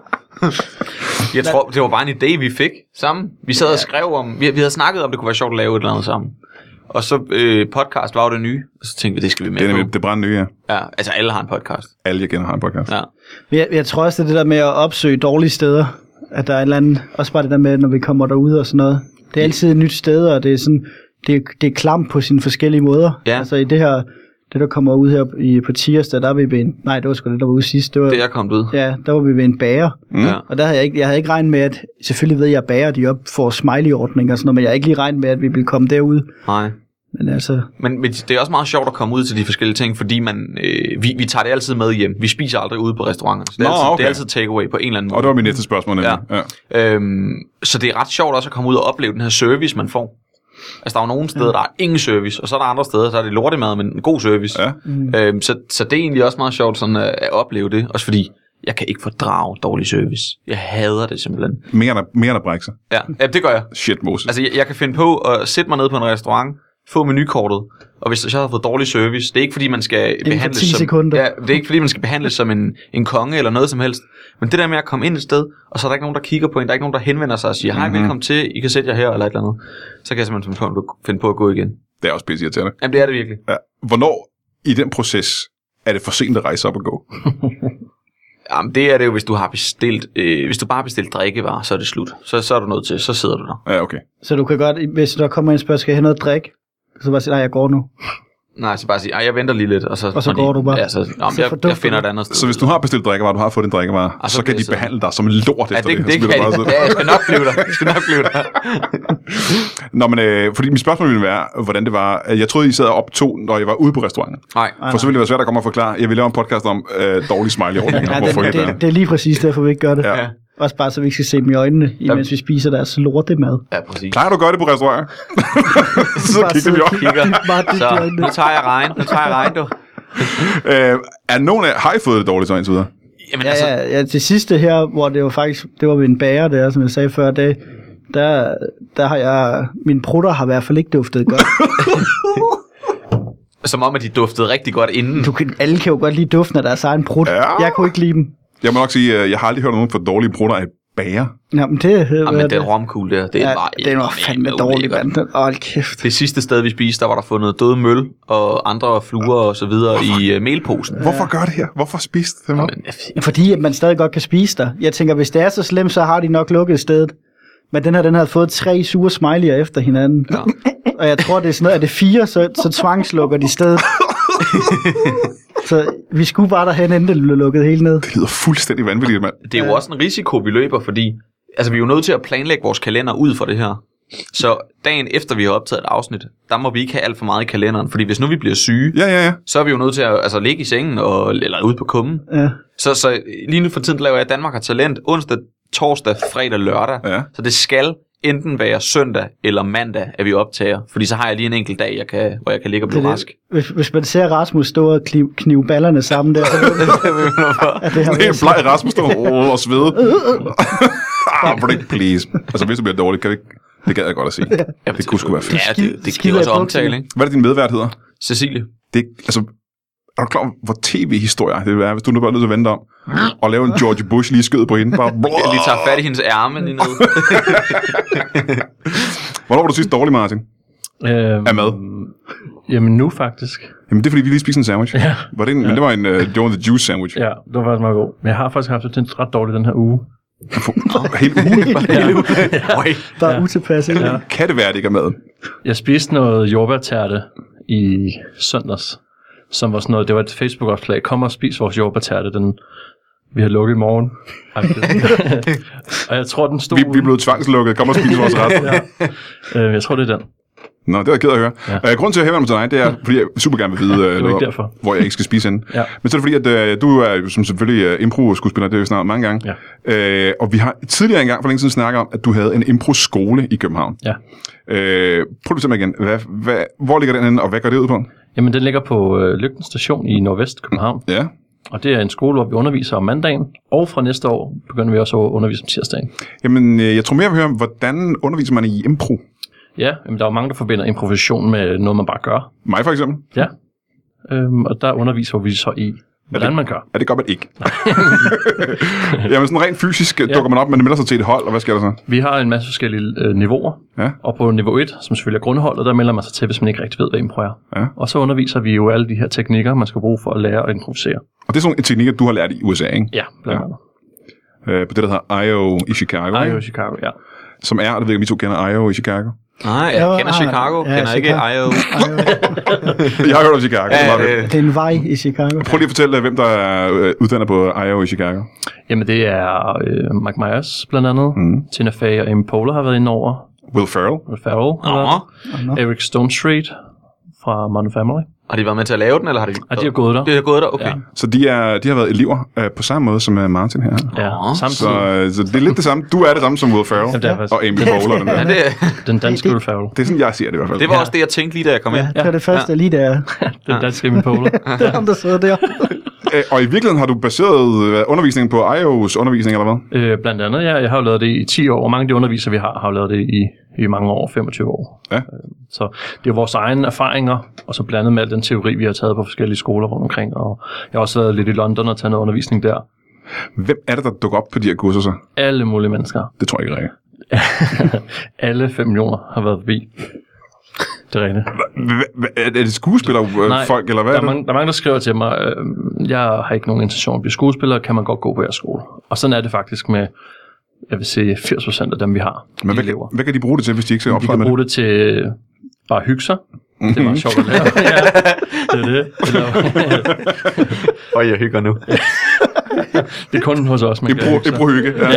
[SPEAKER 4] Jeg tror, det var bare en idé, vi fik sammen. Vi sad og skrev om, vi, vi havde snakket om, det kunne være sjovt at lave et eller andet sammen. Og så øh, podcast var jo det nye, og så tænkte vi, det skal vi
[SPEAKER 1] Det er
[SPEAKER 4] med
[SPEAKER 1] nemlig
[SPEAKER 4] på.
[SPEAKER 1] det brændende nye, ja.
[SPEAKER 4] Ja, altså alle har en podcast.
[SPEAKER 1] Alle, jeg kender, har en podcast.
[SPEAKER 4] Ja.
[SPEAKER 3] Men Jeg, jeg tror også, det er det der med at opsøge dårlige steder, at der er en eller anden, også bare det der med, når vi kommer derud og sådan noget. Det er altid et nyt sted, og det er sådan, det er, det er klamt på sine forskellige måder.
[SPEAKER 4] Ja.
[SPEAKER 3] Altså i det her, det der kommer ud her i, på tirsdag, der er vi ved en, nej, det var sgu det, der var ude sidst, det var,
[SPEAKER 4] Det er jeg kommet ud.
[SPEAKER 3] ja, der var vi ved en bager.
[SPEAKER 1] Mm.
[SPEAKER 4] Ja.
[SPEAKER 3] Og der havde jeg ikke, jeg havde ikke regnet med, at selvfølgelig ved jeg, at bager de op for smiley-ordning og sådan noget, men jeg havde ikke lige regnet med, at vi ville komme derud.
[SPEAKER 4] Nej.
[SPEAKER 3] Men altså,
[SPEAKER 4] Men, men det er også meget sjovt at komme ud til de forskellige ting, fordi man, øh, vi, vi tager det altid med hjem. Vi spiser aldrig ude på restauranter. Så det er,
[SPEAKER 1] Nå,
[SPEAKER 4] altid, det
[SPEAKER 1] okay.
[SPEAKER 4] er altid takeaway på en eller anden
[SPEAKER 1] Og
[SPEAKER 4] måde.
[SPEAKER 1] det var mit næste spørgsmål, nemlig. Ja. ja.
[SPEAKER 4] Øhm, så det er ret sjovt også at komme ud og opleve den her service, man får. Altså, der er jo nogle steder, der er ingen service, og så er der andre steder, der er det lortemad, men en god service.
[SPEAKER 1] Ja.
[SPEAKER 4] Øhm, så, så det er egentlig også meget sjovt sådan, øh, at, at opleve det, også fordi jeg kan ikke fordrage dårlig service. Jeg hader det simpelthen.
[SPEAKER 1] Mere, end at- mere end at brække sig.
[SPEAKER 4] Ja, ja det gør jeg.
[SPEAKER 1] Shit, Moses. Altså,
[SPEAKER 4] Altså, jeg, jeg kan finde på at sætte mig ned på en restaurant, få menukortet, og hvis jeg så har fået dårlig service, det er ikke fordi, man skal
[SPEAKER 3] for
[SPEAKER 4] behandles
[SPEAKER 3] 10
[SPEAKER 4] som,
[SPEAKER 3] sekunder.
[SPEAKER 4] Ja, det er ikke fordi, man skal behandles som en, en konge eller noget som helst. Men det der med at komme ind et sted, og så er der ikke nogen, der kigger på en, der er ikke nogen, der henvender sig og siger, hej,
[SPEAKER 1] Mhm.
[SPEAKER 4] velkommen til, I kan sætte jer her eller et eller andet. Så kan jeg simpelthen finde på, finde på at gå igen.
[SPEAKER 1] det er også pisse irriterende.
[SPEAKER 4] Jamen, det er det virkelig.
[SPEAKER 1] Ja. Hvornår i den proces er det for sent at rejse op og gå?
[SPEAKER 4] Jamen, det er det jo, hvis du har bestilt, øh, hvis du bare har bestilt drikkevarer, så er det slut. Så, så er du nødt til, så sidder du der.
[SPEAKER 1] Ja, okay.
[SPEAKER 3] så du kan godt, hvis der kommer en spørgsmål, skal jeg have noget drik? Så bare sige, nej, jeg går nu.
[SPEAKER 4] Nej, så bare sige, "Ej, jeg venter lige lidt, og så,
[SPEAKER 3] Og så går du bare.
[SPEAKER 4] Ja, så, nå, men
[SPEAKER 3] Så
[SPEAKER 4] jeg,
[SPEAKER 3] fordufter
[SPEAKER 4] jeg, finder
[SPEAKER 3] du.
[SPEAKER 4] et andet sted.
[SPEAKER 1] Så hvis du har bestilt drikkevarer, du har fået din drikkevarer,
[SPEAKER 4] Ah,
[SPEAKER 1] så,
[SPEAKER 4] så
[SPEAKER 1] så kan de
[SPEAKER 4] pisser.
[SPEAKER 1] behandle dig som en lort
[SPEAKER 4] Ja,
[SPEAKER 1] efter
[SPEAKER 4] det, det,
[SPEAKER 1] Så
[SPEAKER 4] det
[SPEAKER 1] bliver
[SPEAKER 4] kan
[SPEAKER 1] du
[SPEAKER 4] jeg.
[SPEAKER 1] bare
[SPEAKER 4] Ja, jeg skal nok blive der. Jeg skal nok blive der.
[SPEAKER 1] sådan- Nå, men øh, fordi mit spørgsmål ville være, hvordan det var. øh, Jeg troede, I sad og optog, når jeg var ude på restauranten.
[SPEAKER 4] Nej.
[SPEAKER 1] For så ville det være svært at komme og forklare. Jeg vil lave en podcast om øh, dårlige smiley-ordninger.
[SPEAKER 3] Ja,
[SPEAKER 1] hvor
[SPEAKER 3] det,
[SPEAKER 1] frygteligt det,
[SPEAKER 3] det, det, er lige præcis derfor, vi ikke gør det.
[SPEAKER 1] Ja.
[SPEAKER 4] Ja.
[SPEAKER 3] Også bare, så vi ikke skal se dem i øjnene, imens vi spiser deres lorte mad.
[SPEAKER 4] Ja, præcis.
[SPEAKER 1] er. Plejer du at gøre det på restauranter? så
[SPEAKER 3] Bare
[SPEAKER 1] kigger
[SPEAKER 3] sidde
[SPEAKER 1] vi
[SPEAKER 3] og
[SPEAKER 1] op.
[SPEAKER 4] Kigger.
[SPEAKER 3] Meget dybt
[SPEAKER 4] Så,
[SPEAKER 3] i øjnene.
[SPEAKER 4] nu tager jeg regn. Nu tager jeg regn, du.
[SPEAKER 1] Øh, er nogen af, har I fået det dårligt så indtil videre?
[SPEAKER 4] Jamen,
[SPEAKER 3] Ja,
[SPEAKER 4] altså,
[SPEAKER 3] ja, ja, det sidste her, hvor det var faktisk, det var ved en bager der, som jeg sagde før, det, der, der har jeg, mine prutter har i hvert fald ikke duftet godt.
[SPEAKER 4] som om, at de duftede rigtig godt inden.
[SPEAKER 3] Du kan, alle kan jo godt lide duften af deres egen prut.
[SPEAKER 1] Ja.
[SPEAKER 3] Jeg kunne ikke lide dem.
[SPEAKER 1] Jeg må nok sige, øh, jeg har aldrig hørt nogen for dårlige brutter af bager.
[SPEAKER 3] Jamen det,
[SPEAKER 4] Ja, men den romkugle der, det
[SPEAKER 3] ja,
[SPEAKER 4] var...
[SPEAKER 3] det var fandme dårligt, mand. Den- Åh, oh, kæft.
[SPEAKER 4] Det sidste sted, vi spiste, der var der fundet døde møl og andre fluer og så videre i uh, melposen.
[SPEAKER 1] Hvorfor gør det her? Hvorfor spiste det mig?
[SPEAKER 4] Men, øh,
[SPEAKER 3] Fordi at man stadig godt kan spise der. Jeg tænker, hvis det er så slemt, så har de nok lukket stedet. Men den her, den havde fået tre sure smiley'er efter hinanden.
[SPEAKER 4] Ja.
[SPEAKER 3] Og jeg tror, det er sådan noget, at det er fire, så, så tvangslukker de stedet. så vi skulle bare derhen, inden det blev lukket helt ned.
[SPEAKER 1] Det lyder fuldstændig vanvittigt, mand.
[SPEAKER 4] Det er jo også en risiko, vi løber, fordi altså, vi er jo nødt til at planlægge vores kalender ud for det her. Så dagen efter, vi har optaget et afsnit, der må vi ikke have alt for meget i kalenderen, fordi hvis nu vi bliver syge,
[SPEAKER 1] Ja, ja, ja.
[SPEAKER 4] så er vi jo nødt til at altså, ligge i sengen og, eller ude på kummen.
[SPEAKER 3] Ja.
[SPEAKER 4] Så, så lige nu for tiden der laver jeg Danmark har talent onsdag, torsdag, fredag, lørdag.
[SPEAKER 1] Ja.
[SPEAKER 4] Så det skal enten være søndag eller mandag, at vi optager. Fordi så har jeg lige en enkelt dag, jeg kan, hvor jeg kan ligge og blive
[SPEAKER 3] Det er
[SPEAKER 4] rask.
[SPEAKER 3] det. Hvis, hvis man ser Rasmus stå og kniv, knive ballerne sammen der, så ved man, at det her altså
[SPEAKER 1] Det er en bleg Rasmus, der oh, og svede. ah, break, please. Altså, hvis det bliver dårligt, kan det ikke... Det gad jeg godt at sige. Det kunne sgu være fedt.
[SPEAKER 4] Ja, det, det, det
[SPEAKER 3] Skide
[SPEAKER 4] giver også
[SPEAKER 3] af bukserne.
[SPEAKER 4] omtale, ikke?
[SPEAKER 1] Hvad er det, din medvært hedder?
[SPEAKER 4] Cecilie.
[SPEAKER 1] Det, er- altså, er du klar over, hvor tv-historier det vil være, hvis du nu bare er nødt til at vente om og lave en George Bush lige i skødet på hende? Bare,
[SPEAKER 4] Jeg lige tager fat i hendes ærme lige nu.
[SPEAKER 1] Hvornår var du sidst dårlig, Martin?
[SPEAKER 2] Øhm,
[SPEAKER 1] Af mad?
[SPEAKER 2] Jamen nu faktisk.
[SPEAKER 1] Jamen, det er fordi, vi lige spiste en sandwich.
[SPEAKER 2] Ja.
[SPEAKER 1] Var det en, ja. Men det var en uh, Joe and the Juice sandwich. Ja.
[SPEAKER 2] Ja, det var faktisk meget god. Men jeg har faktisk haft det til ret dårligt den her uge.
[SPEAKER 1] Helt umuligt. bare.
[SPEAKER 2] Ja.
[SPEAKER 4] Oi.
[SPEAKER 3] bare ja. utilpas. Ikke? Ja.
[SPEAKER 2] Ja.
[SPEAKER 1] Kan det være, at det ikke er maden?
[SPEAKER 2] Jeg spiste noget jordbærterte i søndags, som var sådan noget, det var et Facebook-opslag, kom og spis vores jordbærterte, den vi har lukket i morgen. og jeg tror, den stod...
[SPEAKER 1] Vi, vi er blevet tvangslukket. Kom og spis vores ret.
[SPEAKER 2] ja. øh, jeg tror, det er den.
[SPEAKER 1] Nå, det er jeg ked af at høre. Ja. Øh, grunden til, at jeg henvender mig til dig, det er, fordi jeg super gerne vil vide, øh,
[SPEAKER 2] ikke
[SPEAKER 1] noget om,
[SPEAKER 2] derfor.
[SPEAKER 1] hvor jeg ikke skal spise henne.
[SPEAKER 2] Ja.
[SPEAKER 1] Men så er det fordi, at øh, du er jo som selvfølgelig uh, impro-skuespiller, det er jo snart mange gange. Ja. Øh, og vi har tidligere engang for længe siden snakket om, at du havde en impro-skole i København.
[SPEAKER 2] Ja.
[SPEAKER 1] Øh, prøv lige at igen. Hvad, hvad, hvor ligger den henne, og hvad går det ud på?
[SPEAKER 2] Jamen, den ligger på øh, Lygten Station i Nordvest København,
[SPEAKER 1] Ja.
[SPEAKER 2] og det er en skole, hvor vi underviser om mandagen, og fra næste år begynder vi også at undervise om tirsdagen.
[SPEAKER 1] Jamen, øh, jeg tror mere, jeg vil høre om, hvordan underviser man i impro?
[SPEAKER 2] Ja, jamen, der er jo mange, der forbinder improvisation med noget, man bare gør.
[SPEAKER 1] Mig for eksempel.
[SPEAKER 2] Ja. Øhm, og der underviser vi så i, hvordan man gør.
[SPEAKER 1] Ja, det gør man ikke. Jamen, sådan rent fysisk ja.
[SPEAKER 2] Ja.
[SPEAKER 1] dukker man op, man melder sig til et hold, og hvad sker der så?
[SPEAKER 2] Vi har en masse forskellige øh, niveauer,
[SPEAKER 1] Ja.
[SPEAKER 2] og på niveau 1, som selvfølgelig er grundholdet, der melder man sig til, hvis man ikke rigtig ved, hvad impro er.
[SPEAKER 1] Ja.
[SPEAKER 2] Og så underviser vi jo alle de her teknikker, man skal bruge for at lære at improvisere.
[SPEAKER 1] Og det er sådan nogle teknikker, du har lært i USA, ikke?
[SPEAKER 2] Ja, blandt
[SPEAKER 1] Ja.
[SPEAKER 2] andet.
[SPEAKER 1] øh, på det, der hedder I.O. i Chicago,
[SPEAKER 2] Ja.
[SPEAKER 1] ikke?
[SPEAKER 2] i Chicago, ja.
[SPEAKER 1] som er, og det ved jeg, ikke, om I to kender I.O. i Chicago.
[SPEAKER 4] Nej,
[SPEAKER 3] Ja,
[SPEAKER 4] jeg kender
[SPEAKER 3] ah,
[SPEAKER 4] Chicago,
[SPEAKER 3] ja,
[SPEAKER 4] kender ikke
[SPEAKER 3] Chicago.
[SPEAKER 4] IO.
[SPEAKER 1] Jeg har hørt om Chicago.
[SPEAKER 4] Ja,
[SPEAKER 1] Ja, det
[SPEAKER 4] øh,
[SPEAKER 1] øh.
[SPEAKER 3] Det er en vej i Chicago.
[SPEAKER 1] Prøv lige at fortælle, hvem der er øh, uddannet på I.O. i Chicago.
[SPEAKER 2] Jamen det er øh, Mike Myers blandt andet,
[SPEAKER 1] Mm.
[SPEAKER 2] mm. Tina Fey og Amy Poehler har været inde over,
[SPEAKER 1] Will Ferrell.
[SPEAKER 2] Will Ferrell, har
[SPEAKER 4] Nå.
[SPEAKER 2] været,
[SPEAKER 3] Nå.
[SPEAKER 2] Eric Stone Street fra Modern Family.
[SPEAKER 4] Har de været med til at lave den, eller har de...
[SPEAKER 2] Og de har gået der.
[SPEAKER 4] Det har gået der, okay.
[SPEAKER 2] Ja.
[SPEAKER 1] Så de, er, de har været elever øh, på samme måde som øh, Martin her.
[SPEAKER 2] Ja,
[SPEAKER 4] Nå.
[SPEAKER 1] Så,
[SPEAKER 2] samtidig.
[SPEAKER 1] øh, så det er lidt det samme. Du er det samme som Will Ferrell
[SPEAKER 2] Jamen, det er faktisk-
[SPEAKER 1] og Amy Bowler. Den
[SPEAKER 4] Ja,
[SPEAKER 1] der.
[SPEAKER 4] det,
[SPEAKER 2] Den danske
[SPEAKER 3] det-
[SPEAKER 2] Will Ferrell.
[SPEAKER 1] Det er sådan, jeg ser det i hvert fald.
[SPEAKER 4] det var også det, jeg tænkte lige, da jeg kom ind.
[SPEAKER 3] Ja, det var det første, jeg lige der.
[SPEAKER 2] Den danske Amy Poehler.
[SPEAKER 3] Det er ham, der sidder der.
[SPEAKER 1] Øh, og i virkeligheden har du baseret øh, undervisningen på I.O.'s undervisning, eller hvad?
[SPEAKER 2] Øh, blandt andet, ja. Jeg har jo lavet det i 10 år, og mange af de undervisere, vi har, har jo lavet det i, i mange år, 25 år.
[SPEAKER 1] Ja.
[SPEAKER 2] Øh, Så det er vores egne erfaringer, og så blandet med al den teori, vi har taget på forskellige skoler rundt omkring. Og jeg har også været lidt i London og taget noget undervisning der.
[SPEAKER 1] Hvem er det, der dukker op på de her kurser så?
[SPEAKER 2] Alle mulige mennesker.
[SPEAKER 1] Det tror jeg ikke rigtigt.
[SPEAKER 2] Alle 5 millioner har været forbi. Det er rigtigt.
[SPEAKER 1] Hva- hva- Er er det øh, skuespillerfolk, eller hvad
[SPEAKER 2] der
[SPEAKER 1] er
[SPEAKER 2] er,
[SPEAKER 1] det?
[SPEAKER 2] mange, der er mange, der skriver til mig, øh, jeg har ikke nogen intention om at blive skuespiller, kan man godt gå på jeres skole? Og sådan er det faktisk med, jeg vil sige, 80% af dem, vi har.
[SPEAKER 1] Men
[SPEAKER 2] de
[SPEAKER 1] hvad,
[SPEAKER 2] elever.
[SPEAKER 1] kan- hvad kan de bruge det til, hvis de ikke skal
[SPEAKER 2] De
[SPEAKER 1] optræde
[SPEAKER 2] kan
[SPEAKER 1] med det? Mhm.
[SPEAKER 2] bruge det til øh, bare at hygge sig. Det er meget sjovt at lære. ja, det er det. Eller,
[SPEAKER 4] Og jeg hygger nu.
[SPEAKER 2] det er kun hos os, man kan
[SPEAKER 1] Impro,
[SPEAKER 2] hygge sig.
[SPEAKER 1] impro hygge. Ja.
[SPEAKER 2] Ja.
[SPEAKER 1] Det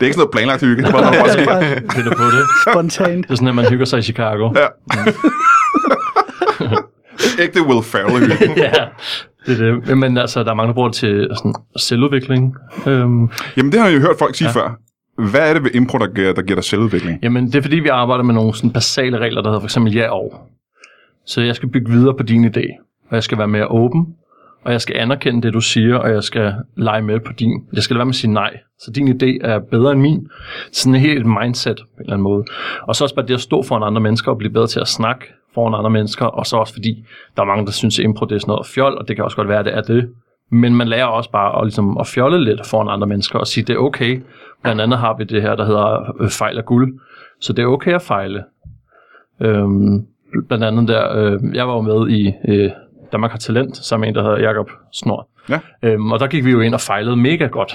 [SPEAKER 1] er ikke sådan noget planlagt hygge. Det er bare noget, der bare
[SPEAKER 3] Det er
[SPEAKER 1] sker.
[SPEAKER 3] bare
[SPEAKER 2] Finder på det.
[SPEAKER 3] spontant.
[SPEAKER 2] Det er sådan, at man hygger sig i Chicago.
[SPEAKER 1] Ja. Ægte Will Ferrell hygge.
[SPEAKER 2] ja, det er det. Men altså, der er mange, der bruger det til sådan, selvudvikling. Øhm,
[SPEAKER 1] Jamen, det har jeg jo hørt folk sige ja. før. Hvad er det ved impro, der, gør- der giver dig selvudvikling?
[SPEAKER 2] Jamen, det er fordi, vi arbejder med nogle sådan basale regler, der hedder for eksempel ja og. Så jeg skal bygge videre på din idé, og jeg skal være mere åben, og jeg skal anerkende det, du siger, og jeg skal lege med på din. Jeg skal lade være med at sige nej. Så din idé er bedre end min. Sådan et helt mindset på en eller anden måde. Og så også bare det at stå foran andre mennesker og blive bedre til at snakke foran andre mennesker, og så også fordi, der er mange, der synes, at impro det er sådan noget fjol, og det kan også godt være, at det er det. Men man lærer også bare at, ligesom, at fjolle lidt foran andre mennesker og sige, det er okay. Blandt andet har vi det her, der hedder øh, fejl og guld. Så det er okay at fejle. Øhm, blandt andet der, øh, jeg var jo med i øh, Danmark har talent, sammen med en, der hedder Jakob Snor.
[SPEAKER 1] Ja.
[SPEAKER 2] Øhm, og der gik vi jo ind og fejlede mega godt.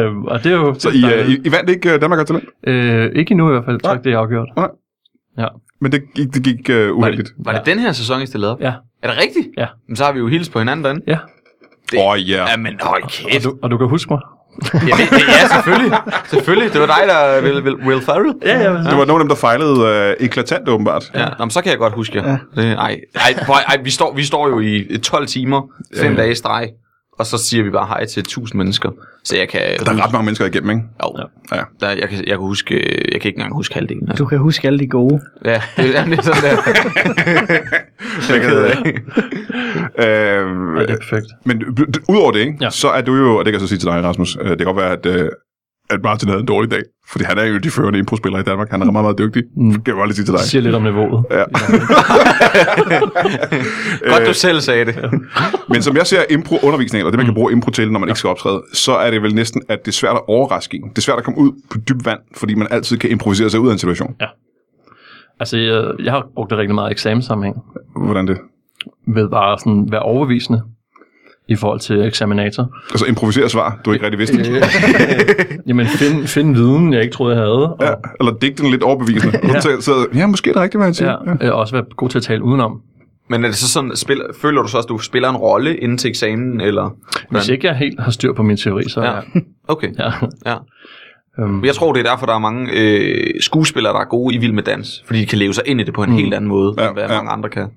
[SPEAKER 2] øhm, og det er jo...
[SPEAKER 1] Så I, øh, I, I vandt ikke øh, Danmark har talent,
[SPEAKER 2] øh, ikke endnu i hvert fald, tak, det er afgjort.
[SPEAKER 1] Nej.
[SPEAKER 2] Ja.
[SPEAKER 1] men det gik, det gik øh, uheldigt.
[SPEAKER 4] Var det den her sæson, I stillede op?
[SPEAKER 2] Ja,
[SPEAKER 4] Er det rigtigt?
[SPEAKER 2] Ja.
[SPEAKER 4] Men så har vi jo hils på hinanden derinde.
[SPEAKER 2] ja.
[SPEAKER 1] Åh, oh, ja. Yeah.
[SPEAKER 4] Jamen, høj
[SPEAKER 2] Og
[SPEAKER 4] kæft.
[SPEAKER 2] du, og du kan huske mig.
[SPEAKER 4] Jamen, ja, selvfølgelig. Selvfølgelig. Det var dig, der Will, Will, Will Ferrell.
[SPEAKER 2] Ja, ja.
[SPEAKER 1] Det var nogle af dem, der fejlede øh, eklatant, åbenbart.
[SPEAKER 4] Ja. Nå, men så kan jeg godt huske jer. Ja. Det, ej, ej, prøv, ej vi, står, vi står jo i 12 timer, 5 dage i streg, og så siger vi bare hej til 1000 mennesker. Så jeg kan...
[SPEAKER 1] Der er ret mange mennesker igennem, ikke?
[SPEAKER 4] Jo,
[SPEAKER 1] Ja.
[SPEAKER 4] der, jeg, kan, jeg kan huske... øh, Jeg kan ikke engang huske halvdelen. Altså.
[SPEAKER 3] Du kan huske alle de gode.
[SPEAKER 4] Ja, det, jamen, det er sådan der.
[SPEAKER 1] Jeg kan, øh,
[SPEAKER 2] Ja, det er perfekt.
[SPEAKER 1] men b- d- udover det, ikke, ja.
[SPEAKER 2] Ja.
[SPEAKER 1] så er du jo, og det kan jeg så sige til dig, Rasmus, øh, det kan godt være, at, øh, at Martin havde en dårlig dag, fordi han er jo de førende impro-spillere i Danmark. Han er meget, meget dygtig. Mm. Det kan jeg godt lige sige til dig.
[SPEAKER 2] Det siger lidt om niveauet.
[SPEAKER 1] Ja.
[SPEAKER 4] Godt, du selv sagde det.
[SPEAKER 1] Men som jeg ser impro-undervisning, eller det man kan bruge impro til, når man ikke skal optræde, så er det vel næsten, at det er svært at overraske en. Det er svært at komme ud på dybt vand, fordi man altid kan improvisere sig ud af en situation.
[SPEAKER 2] Altså, jeg, jeg har brugt det rigtig meget i eksamenssammenhæng,
[SPEAKER 1] Hvordan det?
[SPEAKER 2] ved bare at sådan være overbevisende i forhold til eksaminator.
[SPEAKER 1] Altså improvisere svar, du ikke rigtig vidste.
[SPEAKER 2] Jamen, find, find viden, jeg ikke troede, jeg havde. Og,
[SPEAKER 1] Ja, eller digte den lidt overbevisende. ja.
[SPEAKER 2] Ja.
[SPEAKER 1] Så, så, ja, måske er det rigtigt, hvad han siger. Ja.
[SPEAKER 2] ja, øh, også være god til at tale udenom.
[SPEAKER 4] Men er det så sådan, spil, føler du så, at du spiller en rolle inden til eksamen, eller...
[SPEAKER 2] Hvis ikke jeg helt har styr på min teori, så...
[SPEAKER 4] Ja.
[SPEAKER 2] Ja.
[SPEAKER 4] Okay,
[SPEAKER 2] ja.
[SPEAKER 4] ja.
[SPEAKER 2] Øhm,
[SPEAKER 4] Jeg tror, det er derfor, der er mange øh, skuespillere, der er gode i Vild med Dans. Fordi de kan leve sig ind i det på en mm. helt anden måde,
[SPEAKER 1] Ja,
[SPEAKER 4] ja, end hvad
[SPEAKER 1] ja.
[SPEAKER 4] ja. mange andre kan.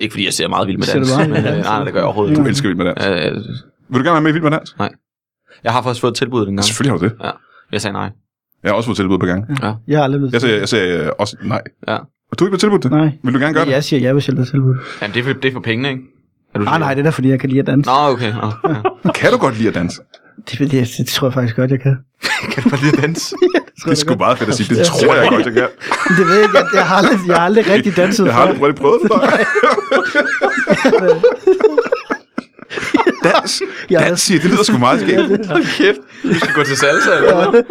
[SPEAKER 4] Ikke fordi jeg ser meget Vild med
[SPEAKER 3] Ser du
[SPEAKER 4] Dans.
[SPEAKER 3] meget
[SPEAKER 4] men,
[SPEAKER 3] Vild med
[SPEAKER 4] øh,
[SPEAKER 3] Dans?
[SPEAKER 4] nej, det gør jeg overhovedet ikke.
[SPEAKER 1] Du elsker vild med dans. Ja.
[SPEAKER 4] Øh,
[SPEAKER 1] Vil du gerne være med i vild med dans?
[SPEAKER 4] jeg har faktisk fået et tilbud dengang.
[SPEAKER 1] Selvfølgelig har du det.
[SPEAKER 4] Jeg sagde nej.
[SPEAKER 1] Jeg har også fået tilbud på gang.
[SPEAKER 3] Jeg har aldrig blevet
[SPEAKER 1] Jeg sagde, jeg sagde øh, også nej.
[SPEAKER 4] Ja.
[SPEAKER 1] Og du er ikke blevet tilbudt det?
[SPEAKER 3] Nej.
[SPEAKER 1] Vil du gerne gøre det?
[SPEAKER 3] Jeg siger ja, hvis jeg bliver tilbudt.
[SPEAKER 4] Jamen, det er for, det er for pengene, ikke? Er du
[SPEAKER 3] Nej, nej, det er da, fordi jeg kan lide at danse.
[SPEAKER 4] Nå, okay. Nå, ja.
[SPEAKER 1] Kan du godt lide at danse?
[SPEAKER 3] Det, det, det, det, tror jeg faktisk godt, jeg kan.
[SPEAKER 4] kan du bare lige danse?
[SPEAKER 1] Det er sgu meget fedt at sige. Det tror jeg godt, jeg kan.
[SPEAKER 3] Men Det ved jeg ikke. Jeg, jeg, har aldrig, jeg har aldrig rigtig danset
[SPEAKER 1] Jeg har aldrig rigtig prøvet det før. dans?
[SPEAKER 3] Jeg
[SPEAKER 1] Dans, siger jeg. det lyder sgu meget skægt.
[SPEAKER 4] Hold kæft. Vi skal gå til salsa, eller hvad?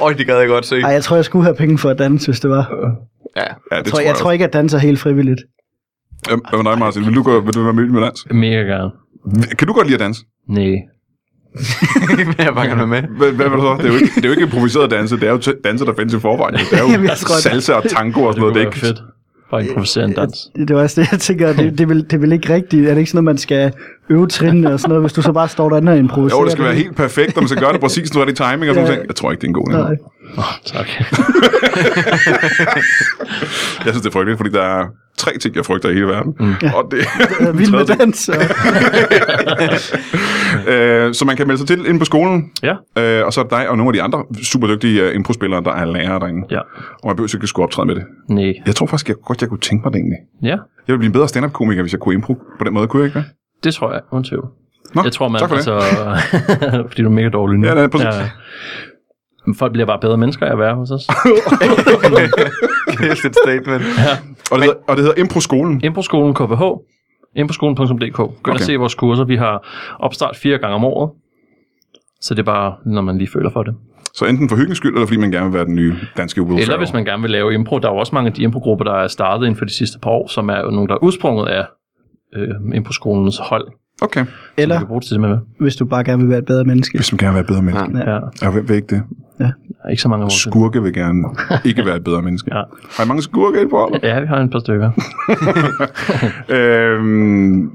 [SPEAKER 4] Øj, det gad jeg godt se.
[SPEAKER 3] Ej, jeg tror, jeg skulle have penge for at danse, hvis det var. Jeg
[SPEAKER 4] Ja.
[SPEAKER 1] Ja, det
[SPEAKER 3] tror, jeg, jeg tror ikke, at danser helt frivilligt.
[SPEAKER 1] Øhm, Hvad med dig, Martin? Vil du, gå, vil du være med i Vild med dans?
[SPEAKER 2] mega gerne.
[SPEAKER 1] Kan du godt lide at danse?
[SPEAKER 2] Nej.
[SPEAKER 4] Men jeg vil bare gerne være med.
[SPEAKER 1] Hvad, hvad vil du så? Det er, jo ikke, det er jo ikke improviseret danse. Det er jo t- danse, der findes i forvejen. Det er jo
[SPEAKER 3] Jamen, jeg tror, det-
[SPEAKER 1] salsa og tango og sådan noget. Det er ikke
[SPEAKER 2] fedt. Bare improvisere en dans.
[SPEAKER 3] Det var også det, jeg tænker, det, det, vil, det vil ikke rigtigt. Er det ikke sådan noget, man skal øve trinene og sådan noget, hvis du så bare står derinde og improviserer?
[SPEAKER 1] Jo, det skal være helt perfekt, og man skal gøre det præcis den rigtige timing og sådan
[SPEAKER 3] Ja.
[SPEAKER 1] noget. Jeg tror ikke, det er en god idé.
[SPEAKER 3] Nej.
[SPEAKER 2] Oh, tak.
[SPEAKER 1] Jeg synes, det er frygteligt, fordi der er tre ting, jeg frygter i hele verden. Mm. Og det,
[SPEAKER 3] Jeg er vild med
[SPEAKER 1] Tredje
[SPEAKER 3] dans. Og...
[SPEAKER 1] øh, så man kan melde sig til inde på skolen,
[SPEAKER 2] ja.
[SPEAKER 1] øh, og så er det dig og nogle af de andre super dygtige øh, improspillere, der er lærere derinde.
[SPEAKER 2] Ja.
[SPEAKER 1] Og man behøver ikke at skulle optræde med det.
[SPEAKER 2] Nej.
[SPEAKER 1] Jeg tror faktisk jeg godt, jeg kunne tænke mig det egentlig.
[SPEAKER 2] Ja.
[SPEAKER 1] Jeg ville blive en bedre stand-up-komiker, hvis jeg kunne impro på den måde. Kunne jeg ikke det?
[SPEAKER 2] Det tror jeg, uden tvivl.
[SPEAKER 1] Nå,
[SPEAKER 2] Jeg tror, man,
[SPEAKER 1] tak for det.
[SPEAKER 2] altså, fordi du er mega dårlig nu.
[SPEAKER 1] Ja, ja, præcis.
[SPEAKER 2] Men Folk bliver bare bedre mennesker af at være hos os.
[SPEAKER 4] Kæft et statement.
[SPEAKER 1] Og det, hedder, og det hedder Impro-skolen.
[SPEAKER 2] Improskolen KBH, improskolen.dk. Gå ind
[SPEAKER 1] Okay.
[SPEAKER 2] og se vores kurser. Vi har opstart fire gange om året. Så det er bare, når man lige føler for det.
[SPEAKER 1] Så enten for hyggens skyld, eller fordi man gerne vil være den nye danske Will
[SPEAKER 2] Eller hvis man gerne vil lave impro. Der er jo også mange af de improgrupper, der er startet inden for de sidste par år, som er jo nogle, der er udsprunget af øh, improskolens hold.
[SPEAKER 1] Okay.
[SPEAKER 2] Eller...
[SPEAKER 3] Eller
[SPEAKER 2] Som vi kan bruge til det med.
[SPEAKER 3] hvis du bare gerne vil være et bedre menneske.
[SPEAKER 1] Hvis man gerne vil være bedre menneske. Ja.
[SPEAKER 2] Ja,
[SPEAKER 1] Og hvem vil ikke det?
[SPEAKER 2] der er ikke så mange af vores.
[SPEAKER 1] Skurke vil gerne ikke være et bedre menneske.
[SPEAKER 2] Ja.
[SPEAKER 1] Har I mange skurke i på holdet?
[SPEAKER 2] Ja, vi har en par stykker.
[SPEAKER 1] Øhm,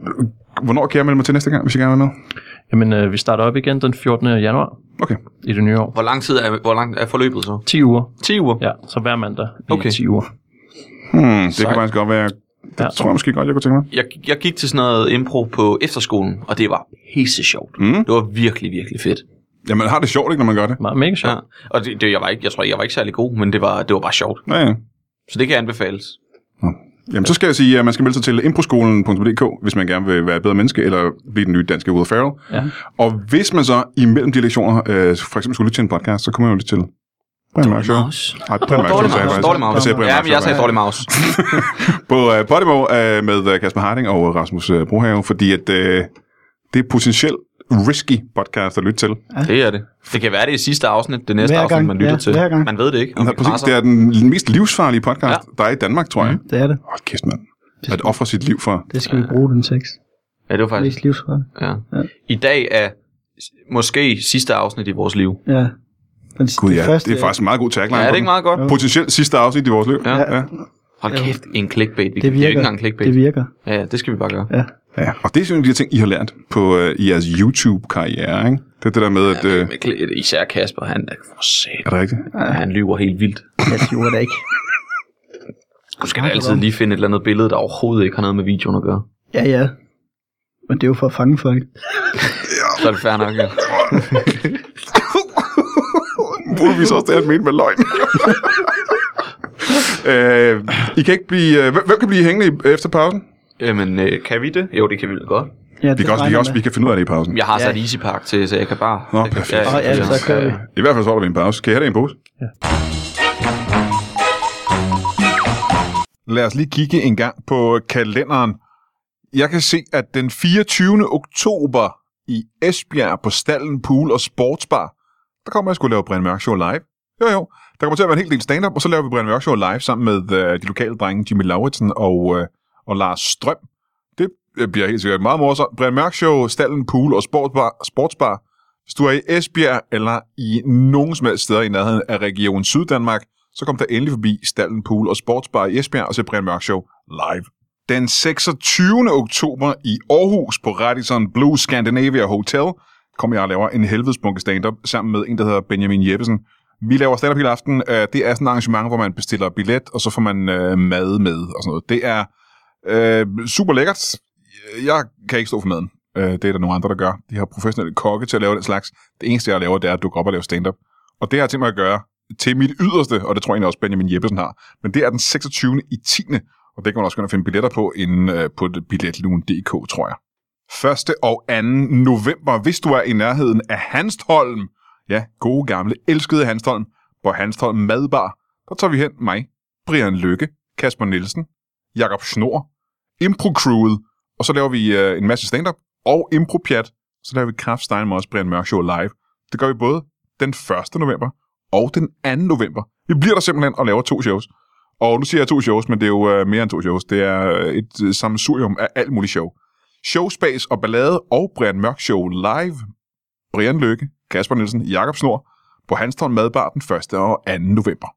[SPEAKER 1] hvornår kan jeg melde mig til næste gang, hvis jeg gerne vil med?
[SPEAKER 2] Jamen, øh, vi starter op igen den 14. januar
[SPEAKER 1] Okay.
[SPEAKER 2] i det nye år.
[SPEAKER 4] Hvor lang tid er, hvor lang er forløbet så?
[SPEAKER 2] 10 uger.
[SPEAKER 4] 10 uger.
[SPEAKER 2] Ja, så hver mandag i
[SPEAKER 4] Okay.
[SPEAKER 2] 10 uger.
[SPEAKER 1] Hmm, det kan
[SPEAKER 4] Sejt.
[SPEAKER 1] faktisk godt være... Det
[SPEAKER 2] Ja.
[SPEAKER 1] tror jeg måske godt, jeg kunne tænke mig.
[SPEAKER 4] Jeg, jeg gik til sådan noget impro på efterskolen, og det var pisse sjovt.
[SPEAKER 1] Mm.
[SPEAKER 4] Det var virkelig, virkelig fedt.
[SPEAKER 1] Ja, man har det sjovt, ikke, når man gør det?
[SPEAKER 2] Meget mega sjovt.
[SPEAKER 4] Ja. Og det, det, jeg, var ikke, jeg tror, jeg var ikke særlig god, men det var, det var bare sjovt.
[SPEAKER 1] Ja, ja.
[SPEAKER 4] Så det kan anbefales.
[SPEAKER 1] Jamen, så skal jeg sige, at man skal melde sig til improskolen.dk, hvis man gerne vil være et bedre menneske, eller blive den nye danske Will Ferrell.
[SPEAKER 2] Ja.
[SPEAKER 1] Og hvis man så imellem de lektioner, øh, for eksempel skulle lytte til en podcast, så kommer jeg jo lidt til Brian Mørk Show. Nej, Brian Mørk Show,
[SPEAKER 4] Dårlig
[SPEAKER 1] sagde jeg
[SPEAKER 4] mouse.
[SPEAKER 1] faktisk.
[SPEAKER 4] Dårlig
[SPEAKER 1] Jeg
[SPEAKER 4] mouse.
[SPEAKER 1] sagde Brian
[SPEAKER 4] Ja,
[SPEAKER 1] Mørk
[SPEAKER 4] men jeg
[SPEAKER 1] Show,
[SPEAKER 4] sagde
[SPEAKER 1] ja.
[SPEAKER 4] dårlig mouse.
[SPEAKER 1] På øh, Podimo øh, med øh, Kasper Harding og Rasmus øh, Brohave, fordi at, øh, det er potentielt risky podcast at lytte til.
[SPEAKER 4] Det er det. Det kan være det i sidste afsnit, det næste
[SPEAKER 3] Hver gang,
[SPEAKER 4] afsnit, man lytter
[SPEAKER 3] ja,
[SPEAKER 4] til.
[SPEAKER 3] hver gang.
[SPEAKER 4] Man ved det ikke. om
[SPEAKER 1] Okay,
[SPEAKER 4] det
[SPEAKER 1] Altså, præcis,
[SPEAKER 4] passer.
[SPEAKER 1] det er den mest livsfarlige
[SPEAKER 4] Mm.
[SPEAKER 1] podcast, ja. der er i Danmark, tror jeg.
[SPEAKER 3] Det er det.
[SPEAKER 1] Hold kæft, mand. At ofre sit liv for...
[SPEAKER 3] Det skal vi bruge den tekst.
[SPEAKER 4] Ja, det var faktisk...
[SPEAKER 3] Mest livsfarligt.
[SPEAKER 4] Ja.
[SPEAKER 3] Ja.
[SPEAKER 4] I dag er s- måske sidste afsnit i vores liv.
[SPEAKER 3] Ja. Den,
[SPEAKER 1] Gud ja, det er faktisk en meget god tagline.
[SPEAKER 4] Ja,
[SPEAKER 1] på
[SPEAKER 4] er det
[SPEAKER 1] den.
[SPEAKER 4] ikke meget godt?
[SPEAKER 3] Jo.
[SPEAKER 1] Potentielt sidste afsnit i vores liv.
[SPEAKER 4] Ja.
[SPEAKER 1] ja.
[SPEAKER 4] Hold kæft, en clickbait.
[SPEAKER 3] Det
[SPEAKER 4] Vi det, det er jo
[SPEAKER 3] virker.
[SPEAKER 4] ikke engang clickbait.
[SPEAKER 3] Det
[SPEAKER 4] Det
[SPEAKER 3] virker.
[SPEAKER 4] ja, ja, det skal vi bare gøre.
[SPEAKER 3] Ja.
[SPEAKER 1] ja. Og det er sådan en af de ting, I har lært på øh, i jeres YouTube-karriere, ikke? Det er det der med, at... Øh,
[SPEAKER 4] Men kli- Især Kasper, han er for sat.
[SPEAKER 1] er det rigtigt?
[SPEAKER 4] Han lyver helt vildt.
[SPEAKER 3] Jeg siger det ikke.
[SPEAKER 4] Du skal altid lige finde et eller andet billede, der overhovedet ikke har noget med videoen at gøre.
[SPEAKER 3] Ja, ja. Men det er jo for at fange folk.
[SPEAKER 4] Så er det fair nok, ja.
[SPEAKER 1] Muligvis også det, han mente med løgn. øh, I kan ikke blive... Øh, hvem hvem kan blive hængende i- efter pausen?
[SPEAKER 4] Jamen, øh, kan vi det? Jo, det kan vi da godt.
[SPEAKER 3] Ja,
[SPEAKER 1] Vi kan, også, vi, kan også, vi kan finde ud af det i pausen.
[SPEAKER 4] Jeg har
[SPEAKER 3] Ja.
[SPEAKER 4] sat Easy Park til, så jeg kan bare...
[SPEAKER 1] Nå,
[SPEAKER 4] jeg kan-
[SPEAKER 1] perfekt.
[SPEAKER 3] Åh, ja, så kører vi.
[SPEAKER 1] I hvert fald så holder vi en pause. Kan I have det i en pose?
[SPEAKER 2] Ja.
[SPEAKER 1] Lad os lige kigge en gang på kalenderen. Jeg kan se, at den 24. oktober i Esbjerg på Stallen Pool og Sportsbar, der kommer jeg skulle lave Brian Mørk Show live. Jo, jo. Der kommer til at være en hel del stand-up, og så laver vi Brian Mørk Show live sammen med øh, de lokale drenge Jimmy Lauritsen og, øh, og Lars Strøm. Det øh, bliver helt sikkert meget morsomt. Brian Mørk Show, Stallen Pool og Sportsbar, sportsbar hvis du er i Esbjerg eller i nogen som helst steder i nærheden af Region Syddanmark, så kom der endelig forbi Stallen Pool og Sportsbar i Esbjerg og se Brian Mørk Show live. Den 26. oktober i Aarhus på Radisson Blue Scandinavia Hotel kommer jeg og laver en helvedes bunke stand-up sammen med en, der hedder Benjamin Jeppesen. Vi laver stand-up hele aften. Øh, Det er sådan et arrangement, hvor man bestiller billet, og så får man øh, mad med og sådan noget. Det er øh, super lækkert. Jeg kan ikke stå for maden. Øh, det er der nogle andre, der gør. De har professionelle kokke til at lave den slags. Det eneste, jeg laver, det er at dukke op og lave stand-up. Og det har jeg tænkt mig at gøre til mit yderste, og det tror jeg egentlig også Benjamin Jeppesen har. Men det er den 26. i 10. Og det kan man også gå ind og finde billetter på inde øh, på billetluen.dk, tror jeg. 1. og 2. november, hvis du er i nærheden af Hanstholm. Ja, gode gamle, elskede Hanstholm. På Hanstholm Madbar. Der tager vi hen mig, Brian Lykke, Kasper Nielsen, Jakob Schnor, Impro-crewet, og så laver vi øh, en masse stand-up og impropjat. Så laver vi Kraftstein også Brian Mørk Show live. Det gør vi både den 1. november og den 2. november. Vi bliver der simpelthen og laver to shows. Og nu siger jeg to shows, men det er jo øh, mere end to shows. Det er øh, et øh, sammensurium af alt muligt show. Showspace og Ballade og Brian Mørk Show live. Brian Løkke, Kasper Nielsen, Jakob Snor på Hanstholm Madbar den 1. og 2. november.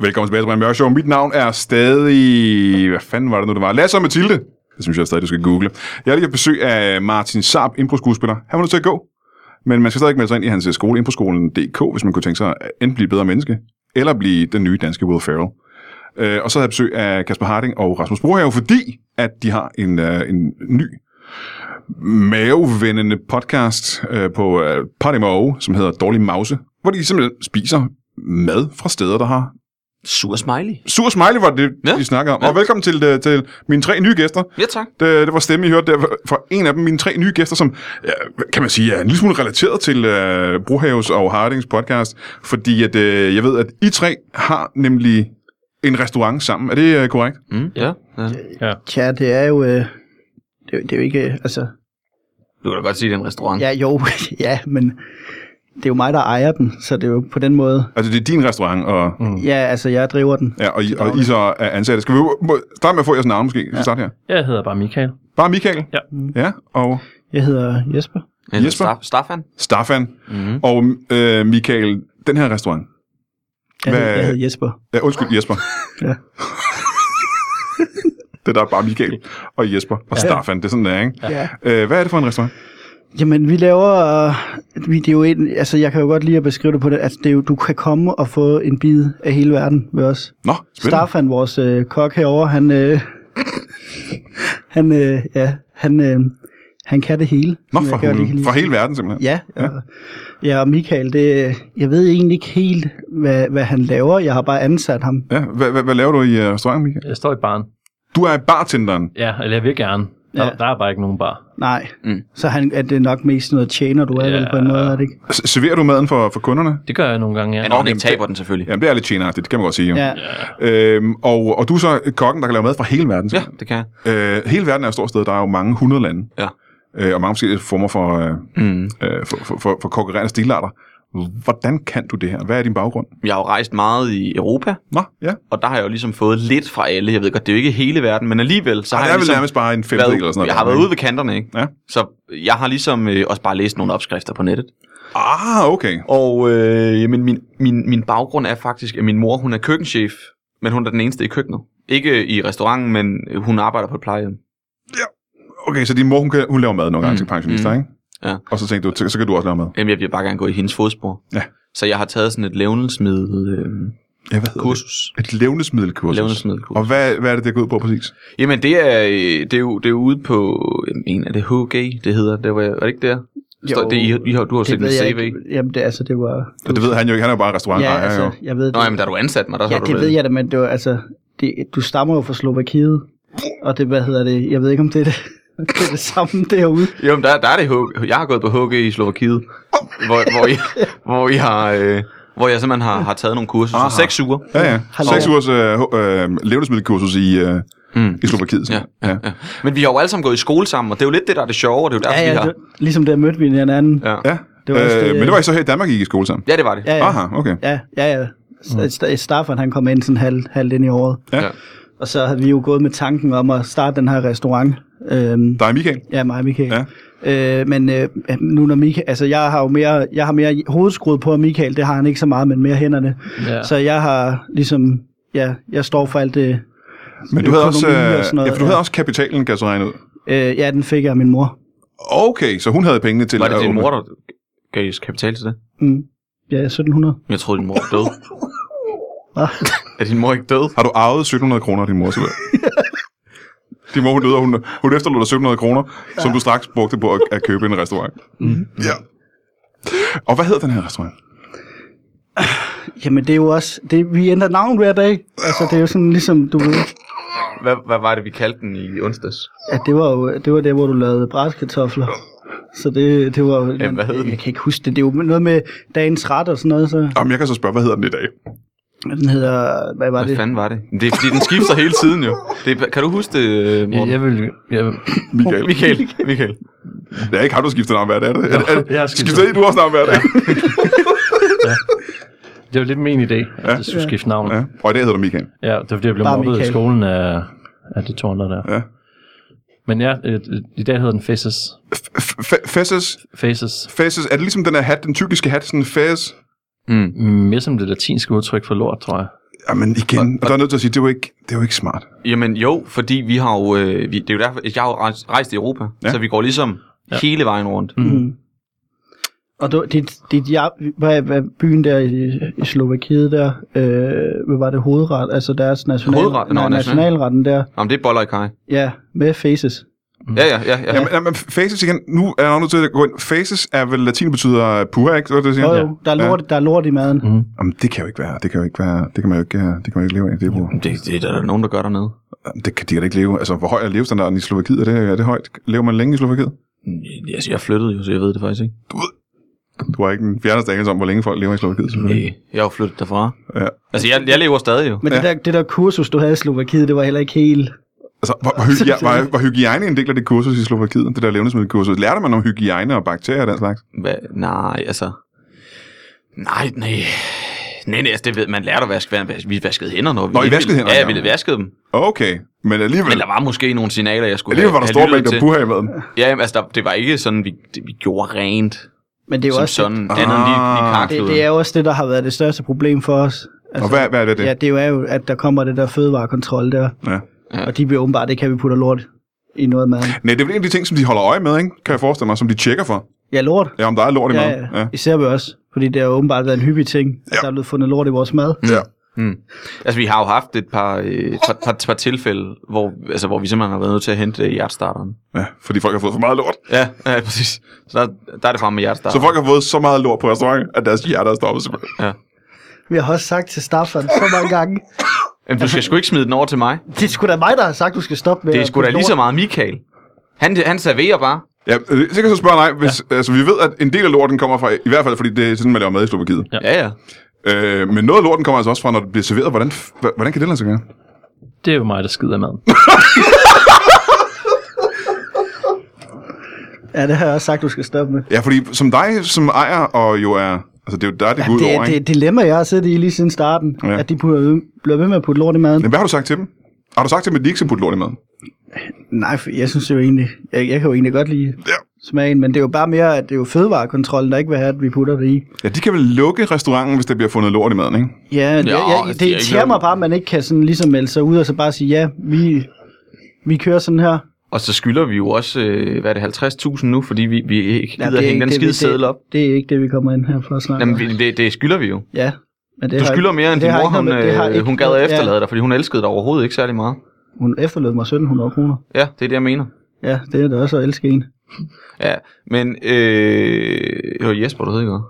[SPEAKER 1] Velkommen tilbage til Brian Mørk Show. Mit navn er stadig... Hvad fanden var det nu, det var? Lasse og Mathilde. Det synes jeg stadig, du skal google. Jeg har lige haft besøg af Martin Saab, impro-skuespiller. Han var nødt til at gå. Men man skal stadig melde sig ind i hans øh, skole, improskolen.dk, hvis man kunne tænke sig at enten blive bedre menneske, eller blive den nye danske Will Ferrell. Øh, og så havde jeg besøg af Kasper Harding og Rasmus Brohave, fordi at de har en, øh, en ny mavevendende podcast øh, på øh, Podimo, som hedder Dårlig Mause, hvor de simpelthen spiser mad fra steder, der har
[SPEAKER 4] Sur smiley.
[SPEAKER 1] Sur Smiley var det, ja.
[SPEAKER 4] Ja.
[SPEAKER 1] vi snakker om. Ja.
[SPEAKER 4] Ja.
[SPEAKER 1] Og velkommen til, øh, til mine tre nye gæster.
[SPEAKER 4] Ja, tak.
[SPEAKER 1] Det, det var stemme, I hørte der fra en af dem. Mine tre nye gæster, som ja, kan man sige er en lille smule relateret til øh, Brohaves og Hardings podcast. Fordi at, øh, jeg ved, at I tre har nemlig en restaurant sammen. Er det øh, korrekt?
[SPEAKER 4] Mm, ja. ja.
[SPEAKER 3] Tja, det er jo... Øh, det, er jo- det er jo ikke... øh, Altså,
[SPEAKER 4] Du kan da godt sige, det er en restaurant.
[SPEAKER 3] ja, jo, ja, men det er jo mig, der ejer den, så det er jo på den måde...
[SPEAKER 1] Altså, det er din restaurant, og, mm.
[SPEAKER 3] Ja, altså, jeg driver den.
[SPEAKER 1] ja, og, I, og I så er ansatte. Skal vi må, starte med at få jeres navn, måske? Skal vi starte her?
[SPEAKER 2] Jeg hedder bare Michael.
[SPEAKER 1] Bare Michael?
[SPEAKER 2] Ja.
[SPEAKER 1] Ja, og...
[SPEAKER 3] Jeg hedder Jesper.
[SPEAKER 4] Eller
[SPEAKER 1] Jesper?
[SPEAKER 4] Staff- Staffan?
[SPEAKER 1] Staffan.
[SPEAKER 4] Mhm.
[SPEAKER 1] Og øh, Michael, den her restaurant.
[SPEAKER 3] Jeg,
[SPEAKER 1] Hvad-
[SPEAKER 3] hedder, jeg hedder Jesper.
[SPEAKER 1] Ja, undskyld, Jesper.
[SPEAKER 3] Ja.
[SPEAKER 1] det der er bare Michael og Jesper og Staffan. Det er sådan, det er, ikke?
[SPEAKER 3] Ja.
[SPEAKER 1] Øh, hvad er det for en restaurant?
[SPEAKER 3] Jamen, vi laver... øh, Vi, det er jo en, altså, jeg kan jo godt lide at beskrive det på det. Altså, det er jo, du kan komme og få en bid af hele verden ved os.
[SPEAKER 1] Nå, spændende.
[SPEAKER 3] Staffan, vores øh, kok herover, han, øh, han, øh, ja, han, øh, han kan det hele.
[SPEAKER 1] Nå,
[SPEAKER 3] som jeg
[SPEAKER 1] fra,
[SPEAKER 3] kan lige kan
[SPEAKER 1] hulen.
[SPEAKER 3] lide.
[SPEAKER 1] fra hele verden simpelthen.
[SPEAKER 3] Ja, og, ja, og Michael, det, øh, jeg ved egentlig ikke helt, hvad, hvad han laver. Jeg har bare ansat ham.
[SPEAKER 1] Ja, hvad, hvad, hvad laver du i øh, restauranten, Michael?
[SPEAKER 2] Jeg står i baren.
[SPEAKER 1] Du er bartenderen.
[SPEAKER 2] Ja, eller jeg vil gerne. Der,
[SPEAKER 3] Ja.
[SPEAKER 2] ja. der er bare ikke nogen bar.
[SPEAKER 3] Nej,
[SPEAKER 4] Mm.
[SPEAKER 3] så han, er det nok mest noget tjener, du er ja. vel på en måde, er det ikke?
[SPEAKER 1] S- Serverer du maden for, for kunderne?
[SPEAKER 2] Det gør jeg nogle gange, ja.
[SPEAKER 4] Men når han
[SPEAKER 1] Okay,
[SPEAKER 4] ikke taber den, selvfølgelig.
[SPEAKER 1] Jamen, det er lidt tjeneragtigt, det kan man godt sige. Jo.
[SPEAKER 3] Ja.
[SPEAKER 1] Øhm, og, og du er så kokken, der kan lave mad fra hele verden.
[SPEAKER 4] Ja,
[SPEAKER 1] simpelthen.
[SPEAKER 4] det kan jeg.
[SPEAKER 1] Øh, hele verden er et stort sted. Der er jo mange hundrede lande.
[SPEAKER 4] Ja.
[SPEAKER 1] Øh, og mange forskellige former for, øh,
[SPEAKER 4] Mm.
[SPEAKER 1] øh, for, for, for, for konkurrerende stilarter. Hvordan kan du det her? Hvad er din baggrund?
[SPEAKER 4] Jeg har jo rejst meget i Europa,
[SPEAKER 1] Nå, ja.
[SPEAKER 4] og der har jeg jo ligesom fået lidt fra alle. Jeg ved godt, det er jo ikke hele verden, men alligevel, så
[SPEAKER 1] Der
[SPEAKER 4] har
[SPEAKER 1] er
[SPEAKER 4] jeg
[SPEAKER 1] vel
[SPEAKER 4] ligesom...
[SPEAKER 1] nærmest bare en femtedel
[SPEAKER 4] Været,
[SPEAKER 1] eller sådan noget.
[SPEAKER 4] jeg har været ude ved kanterne, ikke?
[SPEAKER 1] Ja.
[SPEAKER 4] Så jeg har ligesom øh, også bare læst nogle opskrifter på nettet.
[SPEAKER 1] Ah, okay.
[SPEAKER 4] Og øh, jamen, min, min, min baggrund er faktisk, at min mor hun er køkkenchef, men hun er den eneste i køkkenet. Ikke i restauranten, men øh, hun arbejder på et plejehjem.
[SPEAKER 1] Okay, så din mor, hun, kan, hun laver mad nogle gange mm.
[SPEAKER 4] Mm,
[SPEAKER 1] til pensionister,
[SPEAKER 4] mm.
[SPEAKER 1] ikke?
[SPEAKER 4] Ja.
[SPEAKER 1] Og så tænkte du, så, så kan du også lave mad.
[SPEAKER 4] Jamen, jeg vil bare gerne gå i hendes fodspor.
[SPEAKER 1] Ja.
[SPEAKER 4] Så jeg har taget sådan et levnedsmiddel, øh,
[SPEAKER 1] Ja, hvad hedder
[SPEAKER 4] kursus.
[SPEAKER 1] det? Et levnedsmiddelkursus.
[SPEAKER 4] Levnedsmiddelkursus.
[SPEAKER 1] Og hvad, hvad er det, det går ud på præcis?
[SPEAKER 4] Jamen, det er, øh, det er, jo, det er jo ude på, øh, en af det HG, det hedder, det var, var det ikke der? Står,
[SPEAKER 3] Jo,
[SPEAKER 4] det, I, I, har- du har jo set en
[SPEAKER 3] ved jeg
[SPEAKER 4] CV.
[SPEAKER 3] ikke. Jamen, det, altså, det var...
[SPEAKER 1] Og det ved han jo ikke, han er jo bare restaurant.
[SPEAKER 3] ja, altså,
[SPEAKER 1] jo.
[SPEAKER 3] jeg ved det.
[SPEAKER 4] Nå, jamen, da du ansat mig, der
[SPEAKER 3] ja,
[SPEAKER 4] har du
[SPEAKER 3] det ved jeg da, men det var, altså, det, du stammer jo fra Slovakiet, og det, hvad hedder det, jeg ved ikke, om det er det, det, er det samme derude.
[SPEAKER 4] Jo, men der, der er det HG. Jeg har gået på HG i Slovakiet, hvor, hvor, jeg, hvor, jeg, har, øh, hvor jeg simpelthen har, har taget nogle kurser.
[SPEAKER 1] Aha.
[SPEAKER 4] Så seks uger.
[SPEAKER 1] Ja, ja.
[SPEAKER 3] Hallo.
[SPEAKER 1] Seks ugers øh, h- øh, levnedsmiddelkursus i, øh,
[SPEAKER 4] Mm.
[SPEAKER 1] i Slovakiet.
[SPEAKER 4] Ja,
[SPEAKER 1] sådan. ja.
[SPEAKER 4] ja. Men vi har jo alle sammen gået i skole sammen, og det er jo lidt det, der er det sjove, og det er jo derfor,
[SPEAKER 3] Ja,
[SPEAKER 4] vi
[SPEAKER 3] ja,
[SPEAKER 4] har...
[SPEAKER 3] det, ligesom der mødte vi hinanden. Ja,
[SPEAKER 4] Ja.
[SPEAKER 1] ja.
[SPEAKER 3] Det
[SPEAKER 1] Det
[SPEAKER 3] var
[SPEAKER 1] var
[SPEAKER 3] også
[SPEAKER 1] øh,
[SPEAKER 3] det,
[SPEAKER 1] men det var I så her i Danmark, I gik i skole sammen?
[SPEAKER 4] ja, det var det.
[SPEAKER 3] ja, ja.
[SPEAKER 1] Aha, okay.
[SPEAKER 3] ja, ja, ja. Mm. Staffan, han kom ind sådan halv, halvt ind i året.
[SPEAKER 1] Ja.
[SPEAKER 4] Ja.
[SPEAKER 3] Og så havde vi jo gået med tanken om at starte den her restaurant. Øhm,
[SPEAKER 1] Der er Michael.
[SPEAKER 3] ja, mig og Michael. Ja. Øh, men øh, nu når Michael, altså jeg har jo mere, jeg har mere hovedskruet på, og Michael, det har han ikke så meget, men mere hænderne.
[SPEAKER 2] Ja.
[SPEAKER 3] Så jeg har ligesom, ja, jeg står for alt det,
[SPEAKER 1] Men du havde, også, øh,
[SPEAKER 3] Økonomi og sådan noget,
[SPEAKER 1] ja, for du havde
[SPEAKER 3] ja.
[SPEAKER 1] også kapitalen, kan jeg så regne ud.
[SPEAKER 3] øh, ja, den fik jeg af min mor.
[SPEAKER 1] Okay, så hun havde pengene til
[SPEAKER 4] Var det
[SPEAKER 1] at
[SPEAKER 4] din
[SPEAKER 1] åbne.
[SPEAKER 4] mor, der gav os kapital til det?
[SPEAKER 3] Mm. Ja, 1700.
[SPEAKER 4] Jeg troede, din mor var død.
[SPEAKER 3] Hva?
[SPEAKER 4] Er din mor ikke død?
[SPEAKER 1] Har du arvet 1700 kroner af din mor til det? din mor, hun døde, og hun, hun efterlod dig 1700 kroner, som du straks brugte på at, at købe en restaurant.
[SPEAKER 2] Mhm.
[SPEAKER 1] Ja. Og hvad hedder den her restaurant?
[SPEAKER 3] Jamen det er jo også, det, vi ændrer navn hver dag. Altså det er jo sådan ligesom, du ved,
[SPEAKER 4] Hvad, hvad var det, vi kaldte den i onsdags?
[SPEAKER 3] at det var jo det var der, hvor du lavede brætskartofler. Så det, det var jo...
[SPEAKER 4] Ja, hvad hed den?
[SPEAKER 3] Jeg kan ikke huske det. Det er jo noget med dagens ret og sådan noget. Så.
[SPEAKER 1] Jamen, jeg kan så spørge, hvad hedder den i dag?
[SPEAKER 3] Den hedder... Hvad var
[SPEAKER 4] Hvad
[SPEAKER 3] det?
[SPEAKER 4] fanden var det? Det er fordi, den skifter hele tiden jo. Det, er- kan du huske det, øh,
[SPEAKER 2] Ja,
[SPEAKER 4] Morten?
[SPEAKER 2] jeg vil, jeg vil,
[SPEAKER 1] Michael.
[SPEAKER 4] Michael. Michael.
[SPEAKER 1] Det er ikke ham, der skifter navn hver dag. Er det, er, det- er, det-
[SPEAKER 2] jeg har skiftet.
[SPEAKER 1] skifter I, du også navn hver dag?
[SPEAKER 2] det var lidt min idé, at
[SPEAKER 1] Ja.
[SPEAKER 2] det skulle skifte navn.
[SPEAKER 1] Ja. Og i dag hedder du Michael.
[SPEAKER 2] Ja, det var fordi, jeg blev
[SPEAKER 3] Bare
[SPEAKER 2] mobbet i
[SPEAKER 3] Michael.
[SPEAKER 2] skolen af, af de to andre der.
[SPEAKER 1] Ja.
[SPEAKER 2] Men ja, øh, øh, i dag hedder den Faces.
[SPEAKER 1] F- f- Faces,
[SPEAKER 2] Faces.
[SPEAKER 1] faces, er det ligesom den her hat, den tyrkiske hat, sådan fæs?
[SPEAKER 4] Mm.
[SPEAKER 2] Mere som det latinske udtryk for lort, tror jeg.
[SPEAKER 1] Jamen igen, og der er nødt til at sige, det er jo ikke, det er jo ikke smart.
[SPEAKER 4] Jamen jo, fordi vi har jo, øh, vi, det er jo derfor, jeg har jo rejst, rejst i Europa,
[SPEAKER 1] Ja.
[SPEAKER 4] ja. så vi går ligesom
[SPEAKER 2] Ja.
[SPEAKER 4] ja. hele vejen rundt.
[SPEAKER 2] Mm.
[SPEAKER 3] Mm. Og du, dit, dit ja, hvad, hvad, byen der i, i Slovakiet der, øh, hvad var det hovedret, altså deres national,
[SPEAKER 4] Hovedret? Nå,
[SPEAKER 3] nej,
[SPEAKER 4] national.
[SPEAKER 3] nationalretten der,
[SPEAKER 4] Jamen det er boller i kaj.
[SPEAKER 3] ja, med faces.
[SPEAKER 4] Ja, ja, ja. ja.
[SPEAKER 1] Jamen, jamen, faces igen, nu er jeg nødt til at gå ind. Faces er vel latin betyder pure, ikke? Så det, siger?
[SPEAKER 3] Jo,
[SPEAKER 1] Ja.
[SPEAKER 3] jo, der er lort, der er lort i maden.
[SPEAKER 2] Mm.
[SPEAKER 1] Jamen, det kan jo ikke være, det kan jo ikke være, det kan man jo ikke, øh, det kan man jo ikke leve af, det er jo,
[SPEAKER 4] Jamen, Det, det er der nogen, der gør dernede.
[SPEAKER 1] Jamen, det kan de da ikke leve, altså hvor høj er levestandarden i Slovakiet, er det, er det højt? Lever man længe i Slovakiet?
[SPEAKER 4] Mm, Altså, jeg flyttede jo, så jeg ved det faktisk ikke.
[SPEAKER 1] Du har ikke en fjerneste anelse om, hvor længe folk lever i Slovakiet, selvfølgelig.
[SPEAKER 4] Nej, Mm. jeg har jo flyttet derfra.
[SPEAKER 1] Ja.
[SPEAKER 4] Altså, jeg, jeg lever stadig jo.
[SPEAKER 3] Men ja. det, der, det der kursus, du havde i Slovakiet, det var heller ikke helt...
[SPEAKER 1] Altså, var, var, hygi- var, var, hygiejne en del af det kursus i Slovakiet, det der levnedsmiddelkursus? Lærte man om hygiejne og bakterier og den slags?
[SPEAKER 4] Hva? Nej, altså... Nej, nej. Nej, nej, altså, det ved, man lærte at vaske hver- Vi vaskede hænder, når vi...
[SPEAKER 1] Nå, I vaskede hænder,
[SPEAKER 4] Ja, Mm.
[SPEAKER 1] ja.
[SPEAKER 4] vi vaskede dem.
[SPEAKER 1] Okay, men alligevel,
[SPEAKER 4] Men der var måske nogle signaler, jeg skulle
[SPEAKER 1] alligevel var der store
[SPEAKER 4] lyttet
[SPEAKER 1] mængder
[SPEAKER 4] til.
[SPEAKER 1] puha i maden.
[SPEAKER 4] Ja, jamen, altså, der, det var ikke sådan, vi, det, vi gjorde rent.
[SPEAKER 3] Men det er jo
[SPEAKER 4] som
[SPEAKER 3] også
[SPEAKER 4] sådan. Det,
[SPEAKER 1] Ah.
[SPEAKER 4] andet lige, lige
[SPEAKER 3] det,
[SPEAKER 4] karkluden.
[SPEAKER 3] det, er jo også det, der har været det største problem for os.
[SPEAKER 1] Og hvad, hvad er det? det?
[SPEAKER 3] Altså, Ja, det er jo, at der kommer det der fødevarekontrol der,
[SPEAKER 1] Ja.
[SPEAKER 4] Ja.
[SPEAKER 3] og de bliver åbenbart ikke, at vi putter lort i noget mad.
[SPEAKER 1] Nej, det er vel en af de ting, som de holder øje med, ikke? kan jeg forestille mig, som de tjekker for.
[SPEAKER 3] Ja, lort.
[SPEAKER 1] Ja, om der er lort i
[SPEAKER 3] Ja,
[SPEAKER 1] maden.
[SPEAKER 3] ja. Især vi også, fordi det har jo åbenbart været en hyppig ting, ja.
[SPEAKER 1] Ja.
[SPEAKER 3] der er blevet fundet lort i vores mad.
[SPEAKER 1] ja.
[SPEAKER 4] Mm. Altså, vi har jo haft et par, øh, par, par, par tilfælde, hvor, altså, hvor vi simpelthen har været nødt til at hente øh, hjertestarteren.
[SPEAKER 1] ja. fordi folk har fået for meget lort.
[SPEAKER 4] Ja, ja præcis. Så der, der er det fremme med
[SPEAKER 1] Så
[SPEAKER 4] hjertestarteren.
[SPEAKER 1] folk har fået så meget lort på restauranten, at deres hjerter er stoppet simpelthen.
[SPEAKER 4] Ja.
[SPEAKER 3] Vi har også sagt til Staffan så mange gange,
[SPEAKER 4] Jamen, du skal sgu ikke smide den over til mig.
[SPEAKER 3] det er sgu da mig, der har sagt, du skal stoppe med
[SPEAKER 4] Det er
[SPEAKER 3] at
[SPEAKER 4] sgu da
[SPEAKER 3] putte
[SPEAKER 4] lige så
[SPEAKER 3] lort."
[SPEAKER 4] meget Michael. Han, han serverer bare.
[SPEAKER 1] Ja, øh, så kan jeg så spørge dig, hvis, ja. altså, vi ved, at en del af lorten kommer fra, i hvert fald fordi det er sådan, man laver mad i Slovakiet.
[SPEAKER 2] Ja.
[SPEAKER 4] Ja, ja.
[SPEAKER 1] Øh, men noget af lorten kommer altså også fra, når det bliver serveret. Hvordan, f- h- hvordan kan det lade sig gøre?
[SPEAKER 2] Det er jo mig, der skider maden.
[SPEAKER 3] Ja, det har jeg også sagt, du skal stoppe med.
[SPEAKER 1] Ja, fordi som dig, som ejer og jo er Altså, det er jo der, det
[SPEAKER 3] Ja,
[SPEAKER 1] går ud
[SPEAKER 3] det,
[SPEAKER 1] over,
[SPEAKER 3] det er
[SPEAKER 1] ikke?
[SPEAKER 3] et dilemma, jeg har siddet i lige siden starten,
[SPEAKER 1] Ja.
[SPEAKER 3] ja. at de bliver ved, bliver ved med at putte lort i maden.
[SPEAKER 1] Men hvad har du sagt til dem? Har du sagt til dem, at de ikke skal putte lort i maden?
[SPEAKER 3] Nej, for jeg synes jo egentlig, jeg, jeg kan jo egentlig godt lide
[SPEAKER 1] Ja.
[SPEAKER 3] smagen, men det er jo bare mere, at det er jo fødevarekontrollen, der ikke vil have, at vi putter det i.
[SPEAKER 1] Ja, de kan vel lukke restauranten, hvis der bliver fundet lort i maden, ikke?
[SPEAKER 3] Ja, det,
[SPEAKER 4] Ja,
[SPEAKER 3] ja,
[SPEAKER 4] altså,
[SPEAKER 3] jeg,
[SPEAKER 4] det
[SPEAKER 3] det,
[SPEAKER 4] er
[SPEAKER 3] det
[SPEAKER 4] ikke
[SPEAKER 3] irriterer
[SPEAKER 4] noget-
[SPEAKER 3] mig bare, at man ikke kan sådan ligesom melde sig ud og så bare sige, ja, vi, vi kører sådan her.
[SPEAKER 4] Og så skylder vi jo også, øh, hvad er det, 50.000 nu, fordi vi, vi ikke
[SPEAKER 3] Ja,
[SPEAKER 4] gider ja, hænge den skide seddel op.
[SPEAKER 3] Det, det er ikke det, vi kommer ind her for at snakke
[SPEAKER 4] Jamen,
[SPEAKER 3] om.
[SPEAKER 4] vi- det, det skylder vi jo.
[SPEAKER 3] Ja, men det
[SPEAKER 4] Du
[SPEAKER 3] har
[SPEAKER 4] skylder
[SPEAKER 3] ikke-
[SPEAKER 4] mere, end
[SPEAKER 3] det
[SPEAKER 4] din
[SPEAKER 3] har
[SPEAKER 4] mor,
[SPEAKER 3] ikke
[SPEAKER 4] hun,
[SPEAKER 3] noget med- det har
[SPEAKER 4] øh,
[SPEAKER 3] ikke
[SPEAKER 4] hun gad at
[SPEAKER 3] noget- ja.
[SPEAKER 4] efterlade dig, fordi hun elskede dig overhovedet ikke særlig meget.
[SPEAKER 3] Hun efterlod mig 1700 kroner.
[SPEAKER 4] Ja, det er det, jeg mener.
[SPEAKER 3] Ja, det er da også at elske en.
[SPEAKER 4] Ja, men øh, det var Jesper, du hed ikke hvad?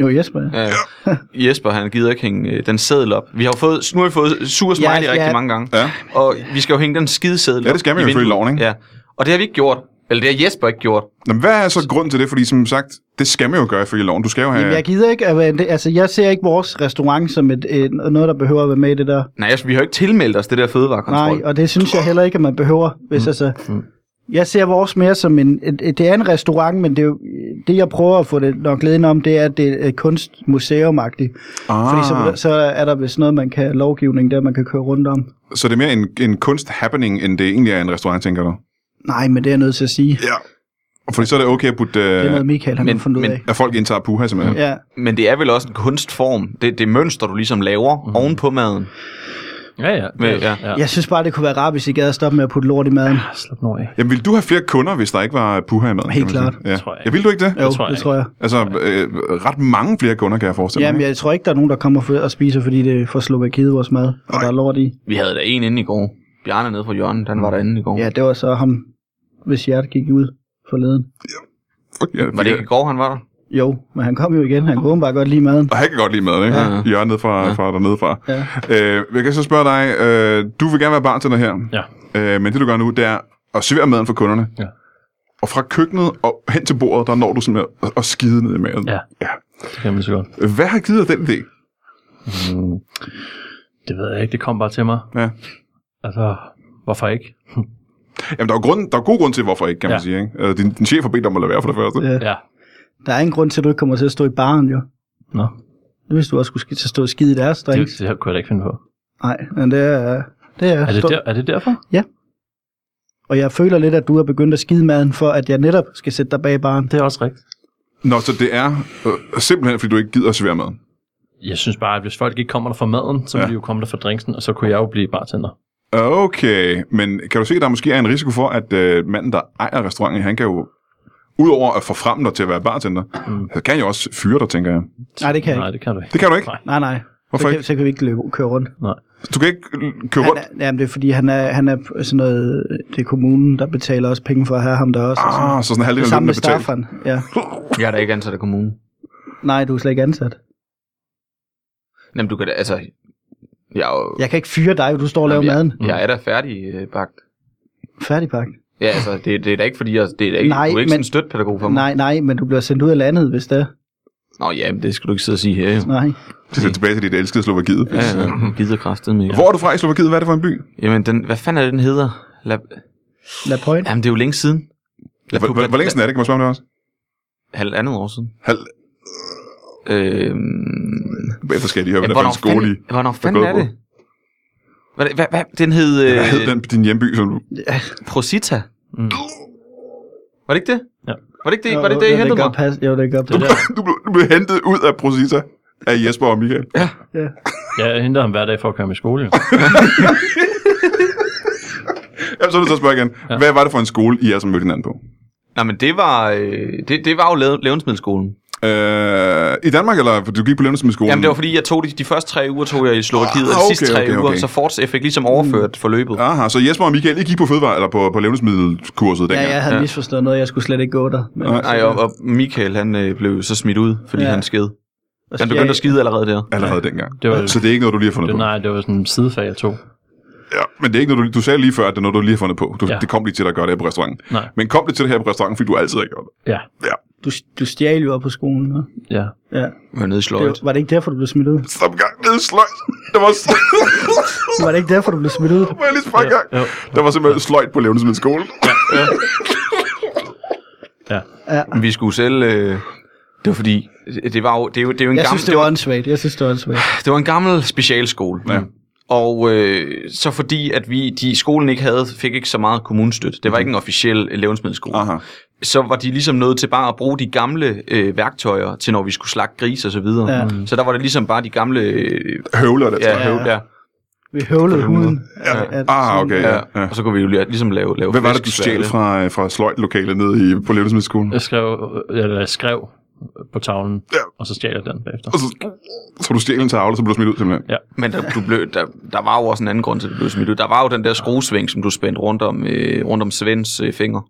[SPEAKER 3] Jo, Jesper, ja.
[SPEAKER 4] Ja. Jesper, han gider ikke hænge øh, den seddel op. Vi har jo fået, nu har vi fået sur smiley
[SPEAKER 3] Ja,
[SPEAKER 4] ja, rigtig
[SPEAKER 3] ja.
[SPEAKER 4] mange gange.
[SPEAKER 1] Ja.
[SPEAKER 4] Og vi skal jo hænge den skide seddel
[SPEAKER 1] Ja, det skal man
[SPEAKER 4] op
[SPEAKER 1] jo
[SPEAKER 4] i
[SPEAKER 1] ifølge
[SPEAKER 4] vinduet.
[SPEAKER 1] loven, ikke?
[SPEAKER 4] Ja, og det har vi ikke gjort. Eller det har Jesper ikke gjort.
[SPEAKER 1] Jamen, hvad er så grunden til det? Fordi som sagt, det skal man jo gøre ifølge loven. Du skal jo have...
[SPEAKER 3] Jamen, jeg gider ikke, at være- det- altså jeg ser ikke vores restaurant som et, et, noget, der behøver at være med i det der.
[SPEAKER 4] Nej, altså, vi har jo ikke tilmeldt os det der fødevarekontrol.
[SPEAKER 3] Nej, og det synes jeg heller ikke, at man behøver. Hvis mm. altså, jeg ser vores mere som en... et- et- Det er en restaurant, men det, er jo, det jeg prøver at få det nok glæden om, det er, at det er kunstmuseum ah.
[SPEAKER 1] ah,
[SPEAKER 3] Fordi så,
[SPEAKER 1] så,
[SPEAKER 3] så er der vist noget, man kan lovgivning der, man kan køre rundt om.
[SPEAKER 1] Ah, så det er mere en, en kunst-happening, end det egentlig er en restaurant, tænker du?
[SPEAKER 3] Nej, men det er jeg nødt til at sige.
[SPEAKER 1] Ja. Fordi så er det okay at putte...
[SPEAKER 3] Det er
[SPEAKER 1] Øh,
[SPEAKER 3] noget, Michael har
[SPEAKER 4] men-
[SPEAKER 3] men, fundet
[SPEAKER 4] men-
[SPEAKER 3] ud af.
[SPEAKER 1] at folk indtager puha, simpelthen.
[SPEAKER 3] Ja.
[SPEAKER 4] Men det er vel også en kunstform. Det, det mønster, du ligesom laver
[SPEAKER 3] Mhm.
[SPEAKER 4] mm. ovenpå maden.
[SPEAKER 2] Ja, ja.
[SPEAKER 4] Med- ja.
[SPEAKER 3] Jeg synes bare, det kunne være rart, hvis I gad at stoppe med at putte lort i maden.
[SPEAKER 2] Slap nu af.
[SPEAKER 1] Jamen, ville du have flere kunder, hvis der ikke var puha i maden?
[SPEAKER 3] Helt
[SPEAKER 1] kan man sige?
[SPEAKER 3] klart.
[SPEAKER 1] Ja.
[SPEAKER 2] Tror jeg
[SPEAKER 1] ja, ville du ikke det?
[SPEAKER 3] Jo,
[SPEAKER 2] tror jeg
[SPEAKER 3] det
[SPEAKER 2] ikke.
[SPEAKER 3] tror jeg.
[SPEAKER 1] Altså, øh, ret mange flere kunder, kan jeg forestille
[SPEAKER 3] Jamen,
[SPEAKER 1] mig.
[SPEAKER 3] jeg tror ikke, der er nogen, der kommer for- og spiser, fordi det er for Slovakiet vores mad, og der er lort i.
[SPEAKER 4] Vi havde da en inde i går. Bjarne nede fra Jørgen, den var derinde i går.
[SPEAKER 3] Mhm. Ja, det var så ham, hvis hjertet gik ud forleden.
[SPEAKER 1] Fuck, ja,
[SPEAKER 4] Var det ikke i går, han var der?
[SPEAKER 3] Jo, men han kom jo igen. Han kunne bare godt lide maden.
[SPEAKER 1] Og han kan godt lide mad, ikke? Ja.
[SPEAKER 4] Ja.
[SPEAKER 1] Jørgen fra,
[SPEAKER 4] Ja.
[SPEAKER 1] ja. fra dernede fra.
[SPEAKER 3] Ja.
[SPEAKER 1] Øh, jeg kan så spørge dig, øh, du vil gerne være bartender her,
[SPEAKER 2] Ja.
[SPEAKER 1] øh, men det du gør nu, det er at servere maden for kunderne.
[SPEAKER 2] Ja.
[SPEAKER 1] Og fra køkkenet og hen til bordet, der når du simpelthen at, at skide ned i maden.
[SPEAKER 2] Ja.
[SPEAKER 1] ja.
[SPEAKER 2] Det kan man så godt.
[SPEAKER 1] Hvad har givet dig den idé?
[SPEAKER 2] Mm. Det ved jeg ikke. Det kom bare til mig.
[SPEAKER 1] Ja.
[SPEAKER 2] Altså, hvorfor ikke?
[SPEAKER 1] Jamen, der er, jo grund, der er god grund til, hvorfor ikke, kan ja. man
[SPEAKER 2] Ja.
[SPEAKER 1] sige. Ikke? Øh, din, din chef har bedt dig om at lade være for det første.
[SPEAKER 3] Ja.
[SPEAKER 2] Ja.
[SPEAKER 3] Der er ingen grund til, at du ikke kommer til at stå i baren, jo.
[SPEAKER 2] Nå,
[SPEAKER 3] Det vidste du også skulle sk- til at stå og skide i deres
[SPEAKER 2] det,
[SPEAKER 3] drinks.
[SPEAKER 2] det her kunne jeg da ikke finde på.
[SPEAKER 3] Nej, men det er... Det er,
[SPEAKER 2] Er det,
[SPEAKER 3] stå-
[SPEAKER 2] der, er det derfor?
[SPEAKER 3] Og jeg føler lidt, at du er begyndt at skide maden, for at jeg netop skal sætte dig bag baren.
[SPEAKER 2] Det er også rigtigt.
[SPEAKER 1] Nå, så det er øh, simpelthen, fordi du ikke gider at servere maden.
[SPEAKER 2] Jeg synes bare, at hvis folk ikke kommer der for maden, så vil
[SPEAKER 1] Ja.
[SPEAKER 2] de jo komme der for drinksen, og så kunne jeg jo blive bartender.
[SPEAKER 1] Okay, men kan du se, at der måske er en risiko for, at øh, manden, der ejer restauranten, han kan jo, udover at forfremme dig til at være bartender, mm. så kan han jo også fyre dig, tænker jeg.
[SPEAKER 3] Nej, det kan jeg
[SPEAKER 2] Nej,
[SPEAKER 3] ikke.
[SPEAKER 2] det kan du ikke.
[SPEAKER 1] Det kan du ikke.
[SPEAKER 2] Nej.
[SPEAKER 3] Nej, nej.
[SPEAKER 1] Hvorfor
[SPEAKER 3] så kan,
[SPEAKER 1] ikke?
[SPEAKER 3] Så kan vi ikke løbe, køre rundt.
[SPEAKER 1] Du kan ikke øh, køre rundt.
[SPEAKER 3] Han er, jamen, det er fordi, han er, han er sådan noget... Det er kommunen, der betaler også penge for at have ham der også. og sådan.
[SPEAKER 1] Ah, så sådan
[SPEAKER 3] det
[SPEAKER 1] halvdelen af lønnen
[SPEAKER 3] samme med
[SPEAKER 1] er betalt.
[SPEAKER 3] Staffan. Ja.
[SPEAKER 4] Jeg er da ikke ansat af kommunen.
[SPEAKER 3] Nej, du er slet ikke ansat.
[SPEAKER 4] Jamen, du kan da, altså... Jeg er jo,
[SPEAKER 3] Jeg kan ikke fyre dig, du står og laver
[SPEAKER 4] Jamen,
[SPEAKER 3] maden.
[SPEAKER 4] Jeg, jeg er da færdig øh, bagt.
[SPEAKER 3] Færdigpakke.
[SPEAKER 4] Ja, altså, det, det er da ikke, fordi jeg... Det er da ikke,
[SPEAKER 3] Nej,
[SPEAKER 4] du er ikke sådan
[SPEAKER 3] men-
[SPEAKER 4] en støtpædagog for mig.
[SPEAKER 3] Nej, nej, men du bliver sendt ud af landet, hvis det er.
[SPEAKER 4] Nå, ja, men det skal du ikke sidde og sige her, jo.
[SPEAKER 3] Nej.
[SPEAKER 1] Det er tilbage til dit elskede Slovakiet.
[SPEAKER 4] Ja,
[SPEAKER 1] Ja, ja.
[SPEAKER 4] ja, gider kraftet med.
[SPEAKER 1] Hvor er du fra i Slovakiet? Hvad er det for en by?
[SPEAKER 4] Jamen, den, hvad fanden er det, den hedder? La,
[SPEAKER 3] La Point.
[SPEAKER 4] jamen, det er jo længe siden. La,
[SPEAKER 1] Hvor, hvor, hvor længe siden er det? Kan man spørge om det også?
[SPEAKER 4] Halvandet år siden.
[SPEAKER 1] Halv...
[SPEAKER 4] Øhm,
[SPEAKER 1] Bagefter skal jeg lige høre,
[SPEAKER 4] Ja,
[SPEAKER 1] hvad det er for en skole i.
[SPEAKER 4] fanden, hvornår fanden
[SPEAKER 1] gået
[SPEAKER 4] er
[SPEAKER 1] på.
[SPEAKER 4] det? Hvad, hvad, hvad, den hed
[SPEAKER 1] Hvad hed
[SPEAKER 4] øh,
[SPEAKER 1] den, din hjemby? Som du...
[SPEAKER 4] Prosita.
[SPEAKER 2] Mm.
[SPEAKER 4] Var det ikke det?
[SPEAKER 2] Ja.
[SPEAKER 4] Var det ikke det,
[SPEAKER 3] Jo,
[SPEAKER 4] var det, ikke det I
[SPEAKER 3] jo,
[SPEAKER 4] hentede
[SPEAKER 3] kan
[SPEAKER 4] mig?
[SPEAKER 3] godt passe. Jo, det kan godt
[SPEAKER 2] Det
[SPEAKER 3] passe.
[SPEAKER 2] der,
[SPEAKER 1] du, blev, du blev hentet ud af Prosita af Jesper og Michael.
[SPEAKER 3] Ja.
[SPEAKER 2] jeg henter ham hver dag for at køre med i skole. jo.
[SPEAKER 1] Jamen, så er det så at spørge igen.
[SPEAKER 2] Ja.
[SPEAKER 1] Hvad var det for en skole, I er, som mødte hinanden på?
[SPEAKER 4] Nej, men det var, øh, det, det var jo lav- levnedsmiddelskolen.
[SPEAKER 1] Øh, I Danmark, eller du gik på levnedsmiddelskolen?
[SPEAKER 4] Jamen, det var fordi, jeg tog de, de første tre uger, tog jeg i Slovakiet,
[SPEAKER 1] Ah,
[SPEAKER 4] og de sidste
[SPEAKER 1] okay,
[SPEAKER 4] tre
[SPEAKER 1] okay,
[SPEAKER 4] uger,
[SPEAKER 1] okay.
[SPEAKER 4] så forts, jeg fik ligesom overført forløbet.
[SPEAKER 1] Aha, så Jesper og Michael, I gik på fødevare, eller på, på levnedsmiddelkurset
[SPEAKER 3] ja,
[SPEAKER 1] dengang?
[SPEAKER 3] jeg havde
[SPEAKER 4] Ja.
[SPEAKER 3] misforstået noget. Jeg skulle slet ikke gå der. Men,
[SPEAKER 1] Nej,
[SPEAKER 4] Nej, og, og Michael, han øh, blev så smidt ud, fordi ja.
[SPEAKER 3] Ja.
[SPEAKER 4] han sked.
[SPEAKER 3] og
[SPEAKER 4] Han begyndte at skide allerede der.
[SPEAKER 1] Allerede dengang.
[SPEAKER 2] Det var,
[SPEAKER 1] Så det er ikke noget, du lige har fundet
[SPEAKER 2] det,
[SPEAKER 1] på?
[SPEAKER 2] nej, det var sådan en sidefag, jeg tog.
[SPEAKER 1] Ja, men det er ikke noget, du, du sagde lige før, at det er noget, du lige har fundet på. Du, ja.
[SPEAKER 2] Ja.
[SPEAKER 1] Det kom lige til dig at gøre det her på restauranten.
[SPEAKER 2] Nej.
[SPEAKER 1] Men kom det til det her på restauranten, fordi du altid har gjort det.
[SPEAKER 2] Ja,
[SPEAKER 3] Du, du stjal jo op på skolen. hva'?
[SPEAKER 2] ja.
[SPEAKER 3] Ja.
[SPEAKER 4] Var nede i
[SPEAKER 3] Det,
[SPEAKER 4] sløjt.
[SPEAKER 3] var- var det ikke derfor, du blev smidt ud?
[SPEAKER 1] Stop en gang, det er sløjt. Det var sløjt.
[SPEAKER 3] Var det ikke derfor, du blev smidt ud?
[SPEAKER 1] Må jeg lige spørge en gang?
[SPEAKER 2] Jo,
[SPEAKER 1] Der var simpelthen sløjt på levnedsmiddelskolen.
[SPEAKER 2] ja.
[SPEAKER 3] Ja.
[SPEAKER 4] Vi skulle sælge øh, Det var fordi, det, var jo, det, er jo, det er jo en
[SPEAKER 3] Jeg
[SPEAKER 4] gammel...
[SPEAKER 3] synes, det var åndssvagt. Jeg synes, det var åndssvagt.
[SPEAKER 4] det var en gammel specialskole.
[SPEAKER 1] Ja.
[SPEAKER 4] Og øh, så fordi, at vi, de, skolen ikke havde, fik ikke så meget kommunestøtte. Det var ikke en officiel øh, levnedsmiddelskole.
[SPEAKER 1] Aha.
[SPEAKER 4] Så var de ligesom nødt til bare at bruge de gamle øh, værktøjer til, når vi skulle slagte gris og så videre.
[SPEAKER 3] Ja.
[SPEAKER 4] Så der var det ligesom bare de gamle... Øh,
[SPEAKER 1] Høvler det, tror
[SPEAKER 4] ja,
[SPEAKER 1] jeg.
[SPEAKER 4] høv, ja.
[SPEAKER 3] Vi høvlede huden. af- af-
[SPEAKER 1] Ah, okay, ja.
[SPEAKER 4] Ja. ja. Og så kunne vi jo lige- ligesom lave, lave
[SPEAKER 1] Hvad var det, du stjal
[SPEAKER 4] flæskesværte.
[SPEAKER 1] fra, øh, fra sløjtlokalet nede i, på levnedsmiddelskolen?
[SPEAKER 2] Jeg skrev, eller jeg skrev på tavlen,
[SPEAKER 1] Ja.
[SPEAKER 2] ja. og så stjal jeg den bagefter.
[SPEAKER 1] Og så, så du stjal en tavle, så blev du smidt ud simpelthen.
[SPEAKER 4] Men der, du blev, der, der var jo også en anden grund til, at du blev smidt ud. Der var jo den der skruesving, som du spændte rundt om, øh, rundt om Svends øh, fingre.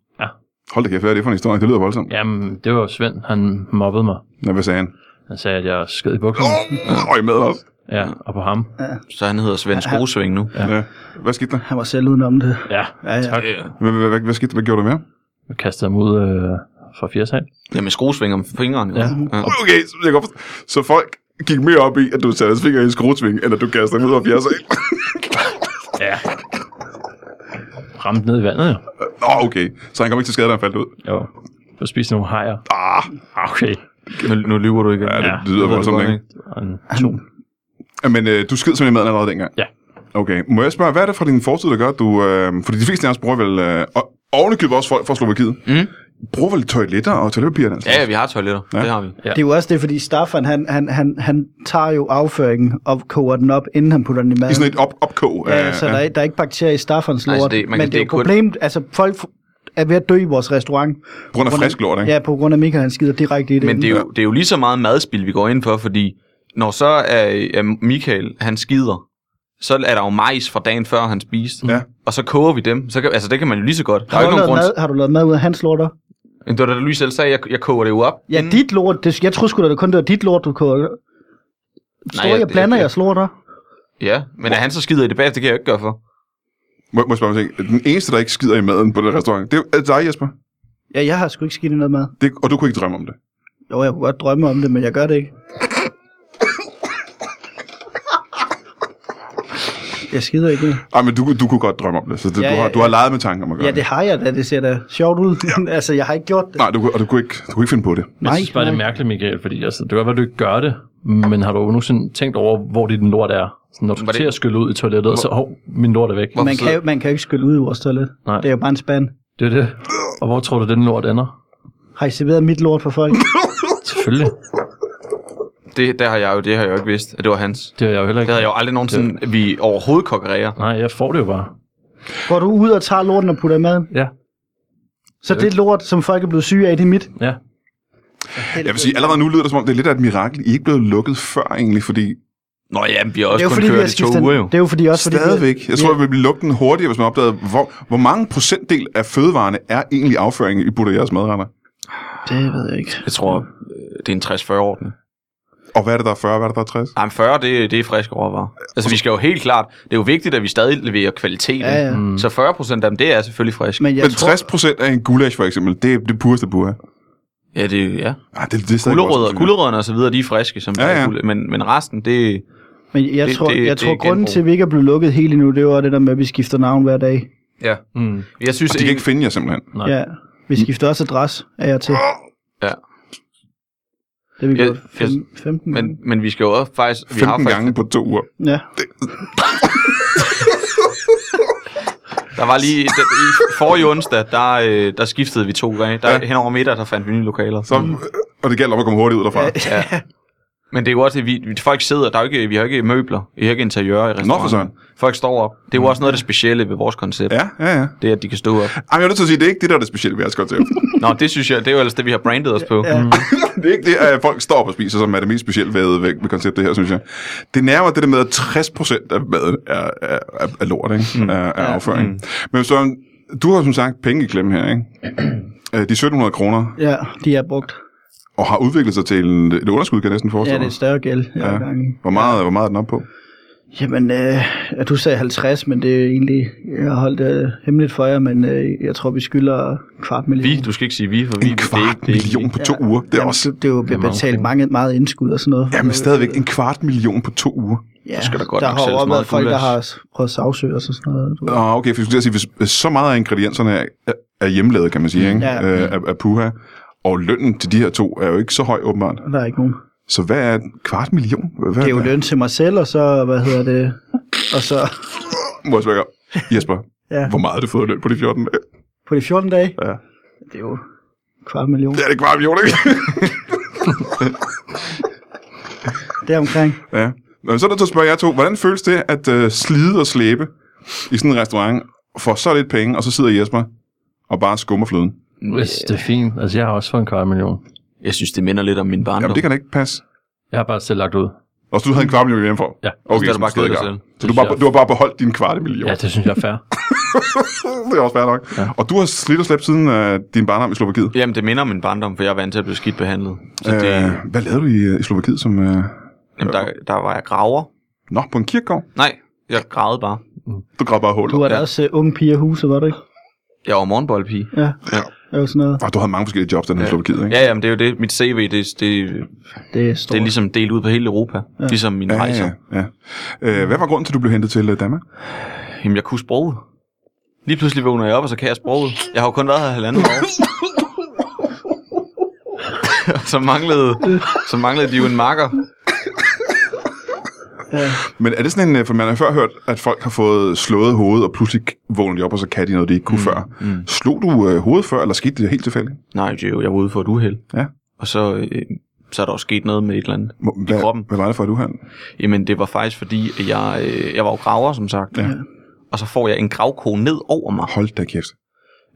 [SPEAKER 1] Hold da kæft, hvad er det for en historie? Det lyder voldsomt.
[SPEAKER 2] Jamen, det var jo Svend, han mobbede mig.
[SPEAKER 1] Ja. Hvad sagde han?
[SPEAKER 2] Han sagde, at jeg skød i bukserne.
[SPEAKER 1] Åh, oh, I med også.
[SPEAKER 2] Ja, og på ham.
[SPEAKER 4] Så han hedder Svend Skruesving nu.
[SPEAKER 1] Ja. Hvad skete der?
[SPEAKER 3] Han var selv udenom det.
[SPEAKER 2] Ja,
[SPEAKER 3] Ja, ja.
[SPEAKER 2] tak.
[SPEAKER 4] Ja.
[SPEAKER 1] Hvad, hvad, hvad, hvad skete der? Hvad gjorde du mere?
[SPEAKER 2] Jeg kastede ham ud øh, fra 80
[SPEAKER 4] Jamen skruesving om fingeren. jo.
[SPEAKER 2] Ja.
[SPEAKER 4] ja.
[SPEAKER 1] Okay, så, jeg kan godt forstå. så folk gik mere op i, at du satte hans finger i en skruesving, end at du kaster dem ud af fjerdsal.
[SPEAKER 2] Ja. Ramte ned i vandet, jo.
[SPEAKER 1] Nå, okay. Så han kom ikke til skade, da han faldt ud.
[SPEAKER 2] Jo. Og spiste nogle hajer.
[SPEAKER 1] Ah,
[SPEAKER 2] Ah, Okay.
[SPEAKER 4] Nu, nu lyver du igen.
[SPEAKER 1] ja, det
[SPEAKER 2] Ja,
[SPEAKER 1] lyder voldsomt, ikke?
[SPEAKER 2] Og en to.
[SPEAKER 1] Men øh, du skid simpelthen maden allerede dengang?
[SPEAKER 2] Ja.
[SPEAKER 1] Okay. Må jeg spørge, hvad er det fra din fortid, der gør, at du... Øh, fordi de fleste af os bruger vel... Øh, og ovenikøbet også folk fra Slovakiet.
[SPEAKER 4] Mm.
[SPEAKER 1] Bruger vel toiletter og toiletpapir? Altså.
[SPEAKER 4] Ja, ja, vi har toiletter.
[SPEAKER 1] Ja.
[SPEAKER 4] Ja. Det har vi.
[SPEAKER 3] Det er jo også det, fordi Staffan, han, han, han, han tager jo afføringen og koger den op, inden han putter den i maden.
[SPEAKER 1] I sådan et op opkog.
[SPEAKER 3] ja, Øh, så der, er, der er ikke bakterier i Staffans
[SPEAKER 4] Nej,
[SPEAKER 3] lort.
[SPEAKER 4] så det- man kan-
[SPEAKER 3] men det
[SPEAKER 4] det
[SPEAKER 3] er
[SPEAKER 4] er
[SPEAKER 3] jo
[SPEAKER 4] kun-
[SPEAKER 3] problemet, altså folk f- er ved at dø i vores restaurant.
[SPEAKER 1] På grund af frisk lort, ikke?
[SPEAKER 3] Ja, på grund af Mika, han skider direkte i det.
[SPEAKER 4] Men det er, jo, det er jo lige så meget madspil, vi går ind for, fordi når så er, er Michael, han skider, så er der jo majs fra dagen før, han spiste.
[SPEAKER 1] Ja.
[SPEAKER 4] Og så koger vi dem. Så kan, altså, det kan man jo lige så godt. Der er
[SPEAKER 3] har,
[SPEAKER 4] jo
[SPEAKER 3] du
[SPEAKER 4] ikke nogen
[SPEAKER 3] lavet
[SPEAKER 4] grund.
[SPEAKER 3] mad, har du lavet mad ud af hans lorter?
[SPEAKER 4] Men Det var da du lige selv sagde, jeg, jeg koger det jo op.
[SPEAKER 3] Ja, dit lort. Det, jeg tror sgu da det kun, det var dit lort, du koger. Står
[SPEAKER 4] jeg-
[SPEAKER 3] jeg, jeg blander
[SPEAKER 4] jeg-
[SPEAKER 3] jeres lorter?
[SPEAKER 4] Ja, men at han så skider i det bagefter, det kan jeg jo ikke gøre for.
[SPEAKER 1] Må, må jeg spørge om en ting? Den eneste, der ikke skider i maden på den restaurant, det er, er det dig, Jesper.
[SPEAKER 3] Ja, jeg har sgu ikke skidt i noget mad.
[SPEAKER 1] Det, og du kunne ikke drømme om det.
[SPEAKER 3] Jo, jeg kunne godt drømme om det, men jeg gør det ikke. Jeg skider ikke.
[SPEAKER 1] Ej, men du, kunne- du kunne godt drømme om det, så det,
[SPEAKER 3] Ja,
[SPEAKER 1] ja, du, har,
[SPEAKER 3] ja,
[SPEAKER 1] du har
[SPEAKER 3] ja.
[SPEAKER 1] leget med tanken om at gøre
[SPEAKER 3] Ja, det har jeg da. Det ser da sjovt ud. Ja. altså, jeg har ikke gjort det.
[SPEAKER 1] Nej, du, kunne- og du kunne, ikke, du kunne ikke finde på det.
[SPEAKER 2] Jeg synes bare, det er mærkeligt, Michael, fordi altså, det kan godt være, du ikke gør det, men har du nogensinde tænkt over, hvor dit lort er? Sådan, når du
[SPEAKER 4] Var
[SPEAKER 2] skal
[SPEAKER 4] det-
[SPEAKER 2] til at skylle ud i toilettet, og så, hov, min lort er væk.
[SPEAKER 4] Hvor-
[SPEAKER 3] man,
[SPEAKER 4] Hvorfor
[SPEAKER 3] kan,
[SPEAKER 4] så-
[SPEAKER 3] jo- man kan jo ikke skylle ud i vores toilet.
[SPEAKER 2] Nej.
[SPEAKER 3] Det er jo bare en spand.
[SPEAKER 2] Det er det. Og hvor tror du, den lort ender?
[SPEAKER 3] Har I serveret mit lort for folk?
[SPEAKER 2] Selvfølgelig.
[SPEAKER 4] Det, det har jeg jo, det har jeg jo ikke vidst, at det var hans.
[SPEAKER 2] Det har jeg jo heller
[SPEAKER 4] Det
[SPEAKER 2] ikke.
[SPEAKER 4] havde jeg jo aldrig nogensinde, at vi overhovedet kokkererer.
[SPEAKER 2] Nej, jeg får det jo bare.
[SPEAKER 3] Går du ud og tager lorten og putter i maden?
[SPEAKER 2] Ja,
[SPEAKER 3] Så det lort, som folk er blevet syge af, det er mit.
[SPEAKER 2] ja.
[SPEAKER 1] Jeg vil sige, allerede nu lyder det som om, det er lidt af et mirakel. I er ikke blevet lukket før egentlig, fordi
[SPEAKER 4] Nå ja, men vi har
[SPEAKER 3] Det er
[SPEAKER 4] også
[SPEAKER 3] jo
[SPEAKER 4] kun
[SPEAKER 3] fordi, vi har
[SPEAKER 4] kørt i to
[SPEAKER 3] skiftet...
[SPEAKER 4] uger jo.
[SPEAKER 3] Det er jo fordi også, fordi vi-
[SPEAKER 1] Stadigvæk. Jeg tror, jeg ville blive lukket den hurtigere, hvis man opdagede, hvor, hvor mange procentdel af fødevarene er egentlig afføring, I putter i jeres madretter?
[SPEAKER 3] Det ved jeg ikke.
[SPEAKER 4] Jeg tror, øh, det er en 60-40-ordning.
[SPEAKER 1] Og hvad er det, der er 40, hvad er det, der er 60?
[SPEAKER 4] Nej, men 40, det, det er friske råvarer. Altså, vi skal jo helt klart... Det er jo vigtigt, at vi stadig leverer kvalitet.
[SPEAKER 3] Ja, ja.
[SPEAKER 4] ikke? Så 40 procent af dem, det er selvfølgelig frisk.
[SPEAKER 3] Men jeg
[SPEAKER 1] Men
[SPEAKER 3] tror...
[SPEAKER 1] 60 procent af en gulasch, for eksempel, det er det pureste burre.
[SPEAKER 4] Ja, det er jo- ja.
[SPEAKER 1] Ah, det, det er stadig
[SPEAKER 4] Gulerødder,
[SPEAKER 1] voldsomt,
[SPEAKER 4] gulerødderne og så videre, de er friske, som
[SPEAKER 1] Ja,
[SPEAKER 4] ja,
[SPEAKER 1] ja.
[SPEAKER 4] ja. Men, men resten, det...
[SPEAKER 3] Men jeg
[SPEAKER 4] Det-
[SPEAKER 3] tror,
[SPEAKER 4] det-
[SPEAKER 3] jeg
[SPEAKER 4] det
[SPEAKER 3] tror
[SPEAKER 4] er
[SPEAKER 3] grunden
[SPEAKER 4] genbrug.
[SPEAKER 3] til, at vi ikke er blevet lukket helt endnu, det var det der med, at vi skifter navn hver dag.
[SPEAKER 4] Ja.
[SPEAKER 2] Mm.
[SPEAKER 4] Jeg synes,
[SPEAKER 1] Og de kan ikke finde jer simpelthen.
[SPEAKER 2] Nej.
[SPEAKER 3] Ja. Vi skifter også adresse af jer til.
[SPEAKER 4] Ja.
[SPEAKER 3] Det har vi
[SPEAKER 4] Ja,
[SPEAKER 3] gjort
[SPEAKER 4] jeg-
[SPEAKER 3] fem, 15 gange.
[SPEAKER 4] men, men vi skal jo også faktisk... Vi
[SPEAKER 1] 15
[SPEAKER 4] faktisk,
[SPEAKER 1] gange på to uger.
[SPEAKER 3] Ja.
[SPEAKER 4] Der var lige... Der, I forrige onsdag, der, øh, der skiftede vi to gange. Der,
[SPEAKER 1] Ja.
[SPEAKER 4] ja. Hen over middag, der fandt vi nye lokaler.
[SPEAKER 1] Så, Mm. og det gælder om at komme hurtigt ud derfra.
[SPEAKER 4] Ja. Men det er jo også, at vi, vi- folk sidder, der er jo ikke, vi har ikke møbler, vi har ikke interiør i
[SPEAKER 1] søren.
[SPEAKER 4] restauranten. Folk står op. Det er jo også noget af det specielle ved vores koncept.
[SPEAKER 1] Ja, ja, ja.
[SPEAKER 4] Det er, at de kan stå op.
[SPEAKER 1] Ej, men jeg er nødt til at sige, det er ikke det, der er det specielle ved jeres koncept.
[SPEAKER 4] Nå, det synes jeg, det er jo ellers det, vi har brandet os på. Ja.
[SPEAKER 1] det er ikke det, at folk står op og spiser, som er det mest specielle ved, ved, ved konceptet her, synes jeg. Det nærmer det der med, at 60% af maden er, er, er, er lort, ikke? Mm. Er, er afføring. Mm. Men Søren, du har som sagt penge i klemme her, ikke? Øh, De 1700 kroner,
[SPEAKER 3] ja, de er brugt.
[SPEAKER 1] og har udviklet sig til en, et underskud, kan jeg næsten
[SPEAKER 3] Ja,
[SPEAKER 1] forestille
[SPEAKER 3] det er
[SPEAKER 1] mig.
[SPEAKER 3] et større gæld. Ja.
[SPEAKER 1] Hvor meget, hvor meget er den op på?
[SPEAKER 3] Jamen, øh, ja, du sagde 50, men det er egentlig, jeg har holdt det hemmeligt for jer, men øh, jeg tror, vi skylder en kvart million.
[SPEAKER 4] Vi, du skal ikke sige vi, for vi,
[SPEAKER 1] En
[SPEAKER 4] det er
[SPEAKER 1] kvart
[SPEAKER 4] ikke, det er ikke,
[SPEAKER 1] million på to uger. Det er
[SPEAKER 3] Jamen,
[SPEAKER 1] også...
[SPEAKER 3] Det, det er jo betalt mange, meget indskud og sådan noget. Øh,
[SPEAKER 1] Jamen stadigvæk en kvart million på to uger.
[SPEAKER 3] Ja,
[SPEAKER 4] skal der godt
[SPEAKER 3] der
[SPEAKER 4] nok
[SPEAKER 3] har jo
[SPEAKER 4] sælges
[SPEAKER 3] også været
[SPEAKER 4] meget
[SPEAKER 3] folk, der
[SPEAKER 4] gulasch.
[SPEAKER 3] har prøvet at sagsøge os og sådan noget. Du. ved.
[SPEAKER 1] Nå, okay, for jeg skulle til at sige, hvis, hvis så meget af ingredienserne er, er hjemlavet, kan man sige, ikke?
[SPEAKER 3] Ja.
[SPEAKER 1] Øh, er, er puha, Og lønnen til de her to er jo ikke så høj, åbenbart.
[SPEAKER 3] Der er ikke nogen.
[SPEAKER 1] Så hvad er en kvart million? Hvad
[SPEAKER 3] Det er jo løn til mig selv, og så, hvad hedder det, og så
[SPEAKER 1] Må jeg spørge, Jesper,
[SPEAKER 3] Ja.
[SPEAKER 1] hvor meget har du fået i løn på de 14 dage?
[SPEAKER 3] på de 14 dage,
[SPEAKER 1] Ja.
[SPEAKER 3] det er jo en kvart million.
[SPEAKER 1] Det er det kvart million, ikke?
[SPEAKER 3] Det er omkring.
[SPEAKER 1] ja. Men så er der til at spørge jer to, hvordan føles det at øh, slide og slæbe i sådan en restaurant for så lidt penge, og så sidder Jesper og bare skummer fløden?
[SPEAKER 2] Hvis det er fint. Altså, jeg har også fået en kvart million.
[SPEAKER 4] Mm. Jeg synes, det minder lidt om min barndom.
[SPEAKER 1] Jamen, det kan da ikke passe.
[SPEAKER 2] Jeg har bare selv lagt ud.
[SPEAKER 1] Og så du havde en kvart million hjemmefra?
[SPEAKER 2] Ja.
[SPEAKER 1] Okay, så,
[SPEAKER 4] Så har du bare
[SPEAKER 1] stadig
[SPEAKER 4] givet dig
[SPEAKER 1] klart.
[SPEAKER 2] selv.
[SPEAKER 1] så du, har bare, du har bare beholdt din kvarte million.
[SPEAKER 2] Ja, det synes jeg er fair.
[SPEAKER 1] det er også fair nok. Ja. Og du har slidt og slæbt siden øh, din barndom i Slovakiet.
[SPEAKER 4] Jamen, det minder om min barndom, for jeg er vant til at blive skidt behandlet. Så det,
[SPEAKER 1] Øh, hvad lavede du i, øh, i Slovakiet som... Øh...
[SPEAKER 4] jamen, der, der var jeg graver.
[SPEAKER 1] Nå, på en kirkegård?
[SPEAKER 4] Nej, jeg gravede bare.
[SPEAKER 1] Du gravede bare huller.
[SPEAKER 3] Du var da
[SPEAKER 4] Ja.
[SPEAKER 3] også uh, unge piger i huset, var du ikke?
[SPEAKER 4] Jeg var morgenboldpige.
[SPEAKER 3] Ja.
[SPEAKER 4] Ja.
[SPEAKER 3] Det var sådan noget.
[SPEAKER 1] Og du havde mange forskellige jobs, den her ja. Slovakiet, ikke?
[SPEAKER 4] Ja, jamen, det er jo det. Mit CV, det, det, det
[SPEAKER 3] Det er stort.
[SPEAKER 4] er ligesom delt ud på hele Europa. Ja. Ligesom min
[SPEAKER 1] ja,
[SPEAKER 4] rejser.
[SPEAKER 1] ja. ja. Øh, hvad var grunden til, at du blev hentet til øh, Danmark?
[SPEAKER 4] Jamen, jeg kunne sproget. Lige pludselig vågner jeg op, og så kan jeg sproget. Jeg har jo kun været her halvandet år. Og så manglede, så manglede de jo en marker.
[SPEAKER 1] Men er det sådan en, øh, for man har før hørt, at folk har fået slået hovedet, og pludselig vågner de op, og så kan de noget, de ikke kunne mm. før. Mm. Slog du øh, hovedet før, eller skete det helt tilfældigt?
[SPEAKER 4] Nej, det er jo, jeg var ude for et uheld.
[SPEAKER 1] Ja.
[SPEAKER 4] Og så, øh, så er der også sket noget med et eller andet.
[SPEAKER 1] Må- Hvad,
[SPEAKER 4] kroppen.
[SPEAKER 1] hvad var det for et uheld?
[SPEAKER 4] Jamen, det var faktisk fordi, at jeg, øh, jeg var jo graver, som sagt.
[SPEAKER 1] Ja.
[SPEAKER 4] Og så får jeg en gravko ned over mig.
[SPEAKER 1] Hold da kæft.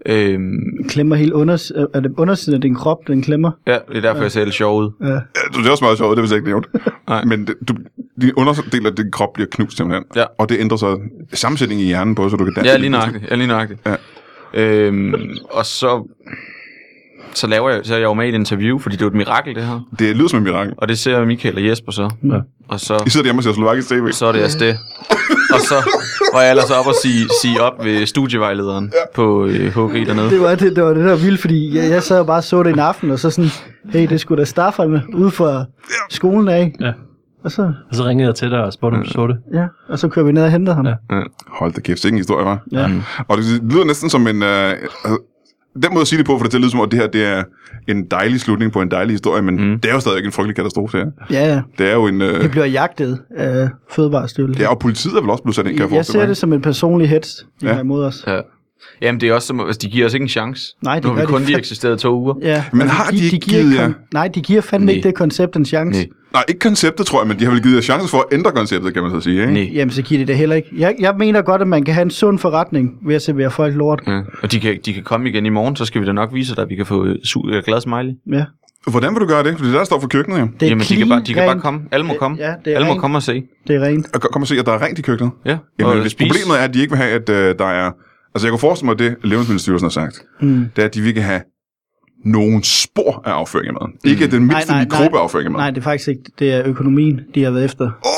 [SPEAKER 4] Øhm,
[SPEAKER 3] Den klemmer helt under, øh, er det undersiden af din krop, den klemmer.
[SPEAKER 4] ja, det er derfor, jeg ser lidt sjov ud.
[SPEAKER 3] Ja.
[SPEAKER 1] Ja, du- Altså, det er også meget sjovt, det vil jeg ikke nævne.
[SPEAKER 4] Nej.
[SPEAKER 1] Men det, du, din underdel af din krop bliver knust simpelthen.
[SPEAKER 4] Ja.
[SPEAKER 1] Og det ændrer så sammensætningen i hjernen på, så du kan danse.
[SPEAKER 4] Ja, lige nøjagtigt. Ja, lige nøjagtigt.
[SPEAKER 1] Ja.
[SPEAKER 4] Ja. Øhm, og så, så laver jeg, så er jeg jo med i et interview, fordi det er jo et mirakel, det her.
[SPEAKER 1] Det lyder som en mirakel.
[SPEAKER 4] Og det ser Michael og Jesper så.
[SPEAKER 2] Ja.
[SPEAKER 4] Og så,
[SPEAKER 1] I sidder derhjemme og ser Slovakisk TV.
[SPEAKER 4] så er det altså det. Og så var jeg ellers op og sige, sige op ved studievejlederen ja. på øh, HG dernede.
[SPEAKER 3] Det var det, det var det der var vildt, fordi jeg, jeg sad og bare så det en aften, og så sådan, hey, det skulle da Staffan ude fra skolen af.
[SPEAKER 2] Ja.
[SPEAKER 3] Og så,
[SPEAKER 2] Og så ringede jeg til dig og spurgte, om
[SPEAKER 4] Mm.
[SPEAKER 2] du så det.
[SPEAKER 3] ja, og så kører vi ned og henter ham.
[SPEAKER 2] Ja.
[SPEAKER 1] Hold da kæft, sikke en historie, var.
[SPEAKER 3] Ja.
[SPEAKER 4] Mm.
[SPEAKER 1] Og det lyder næsten som en... Øh, altså, den måde at sige det på, for det til at lyde som om, at det her det er en dejlig slutning på en dejlig historie, men mm. det er jo stadigvæk en frygtelig katastrofe, det her.
[SPEAKER 3] ja, ja.
[SPEAKER 1] Det er jo en... Øh,
[SPEAKER 3] Det bliver jagtet af fødevarestyrelsen.
[SPEAKER 1] ja, og politiet er vel også blevet sat ind, kan jeg,
[SPEAKER 3] jeg, jeg
[SPEAKER 1] forestille
[SPEAKER 3] ser
[SPEAKER 1] mig.
[SPEAKER 3] det som en personlig hets, de
[SPEAKER 1] Ja.
[SPEAKER 3] ja. har imod os.
[SPEAKER 4] Ja. Jamen, det er også som, altså, de giver os ikke en chance.
[SPEAKER 3] Nej, det
[SPEAKER 4] nu har
[SPEAKER 3] gør
[SPEAKER 4] vi
[SPEAKER 3] de
[SPEAKER 4] kun lige
[SPEAKER 3] fandme-
[SPEAKER 4] eksisteret to uger.
[SPEAKER 3] Ja.
[SPEAKER 1] Men
[SPEAKER 3] altså,
[SPEAKER 1] har de ikke
[SPEAKER 3] giver
[SPEAKER 1] givet
[SPEAKER 3] kon- Nej, de giver fandme
[SPEAKER 4] Nej.
[SPEAKER 3] ikke det koncept en chance.
[SPEAKER 4] Nej.
[SPEAKER 1] Nej, ikke konceptet, tror jeg, men de har vel givet jer chancer for at ændre konceptet, kan man så sige, ikke?
[SPEAKER 4] Nej.
[SPEAKER 3] Jamen, så giver de det heller ikke. Jeg, jeg mener godt, at man kan have en sund forretning ved at servere folk lort.
[SPEAKER 4] Ja. Og de kan, de kan komme igen i morgen, så skal vi da nok vise dig, at vi kan få øh, su- øh, glad smiley.
[SPEAKER 3] Ja.
[SPEAKER 1] Hvordan vil du gøre det? Fordi det er der der står for køkkenet, jo.
[SPEAKER 3] Det er
[SPEAKER 4] Jamen, de kan, bare, de kan bare
[SPEAKER 3] clean,
[SPEAKER 4] komme. Alle må
[SPEAKER 3] Det-
[SPEAKER 4] komme.
[SPEAKER 3] ja, det er
[SPEAKER 4] Alle må
[SPEAKER 3] rent.
[SPEAKER 4] komme og se.
[SPEAKER 3] Det er rent.
[SPEAKER 1] Og Kom og se, at der er rent i køkkenet.
[SPEAKER 4] Ja.
[SPEAKER 1] Jamen,
[SPEAKER 4] og
[SPEAKER 1] hvis
[SPEAKER 4] spise.
[SPEAKER 1] problemet er, at de ikke vil have, at øh, der er... Altså, jeg kunne forestille mig, at det Levnedsmiddelstyrelsen har sagt, mm. det er, at de vil ikke have nogen spor af afføring af maden. Mm. Ikke den mindste
[SPEAKER 3] nej, nej.
[SPEAKER 1] mikrobe af afføring af maden.
[SPEAKER 3] Nej, det er faktisk ikke. Det er økonomien, de har været efter.
[SPEAKER 1] Åh!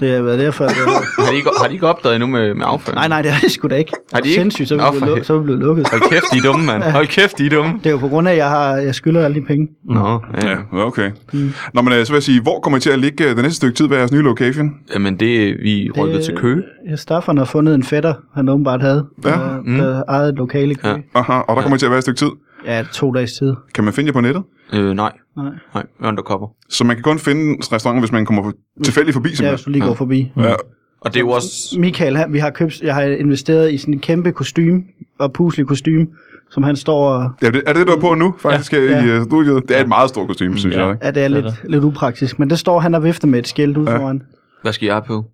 [SPEAKER 3] Det har været derfor. At,
[SPEAKER 4] Har de ikke, har de ikke opdaget endnu med, med afføring?
[SPEAKER 3] nej, nej, det er det sgu da ikke.
[SPEAKER 4] Har de ikke?
[SPEAKER 3] Sindssygt, så er
[SPEAKER 4] Nå,
[SPEAKER 3] vi
[SPEAKER 4] for
[SPEAKER 3] blevet,
[SPEAKER 4] hel-
[SPEAKER 3] luk- så er vi blevet lukket.
[SPEAKER 4] Hold kæft, de er dumme, mand. Hold kæft, de er dumme.
[SPEAKER 3] Det er jo på grund af, at jeg, har, jeg skylder alle de penge.
[SPEAKER 4] Nå, ja. ja.
[SPEAKER 1] Ja, okay. Mm. Nå, men øh, så vil jeg sige, hvor kommer I til at ligge øh, det næste stykke tid ved jeres nye location?
[SPEAKER 4] Jamen, det vi rykkede til Køge.
[SPEAKER 3] øh, Ja, Staffan har fundet en fætter, han åbenbart havde,
[SPEAKER 1] Ja.
[SPEAKER 3] der,
[SPEAKER 4] Mm.
[SPEAKER 3] der ejede et lokale i Køge.
[SPEAKER 1] Aha, og der kommer I til at være et stykke tid.
[SPEAKER 3] Ja. ja, to dages tid.
[SPEAKER 1] Kan man finde jer på nettet?
[SPEAKER 4] Øh, nej.
[SPEAKER 3] Nej.
[SPEAKER 4] Nej, undercover.
[SPEAKER 1] Så man kan kun finde restauranten, hvis man kommer tilfældigt forbi,
[SPEAKER 3] Ja, hvis
[SPEAKER 1] simpelthen.
[SPEAKER 3] du lige går forbi.
[SPEAKER 1] Ja.
[SPEAKER 4] Og det er jo også...
[SPEAKER 3] Michael, han, vi har købt, jeg har investeret i sådan en kæmpe kostume og puslig kostume, som han står og...
[SPEAKER 1] Ja, det, er det, du er på nu, faktisk, ja. i
[SPEAKER 3] Ja.
[SPEAKER 1] øh, studiet? Det er et meget stort kostume, synes
[SPEAKER 2] Ja.
[SPEAKER 1] jeg. Ikke?
[SPEAKER 3] Ja, det er
[SPEAKER 2] Det er
[SPEAKER 3] lidt, lidt upraktisk, men det står han og vifter med et skilt ud
[SPEAKER 1] Ja.
[SPEAKER 3] foran.
[SPEAKER 4] Hvad skal jeg på?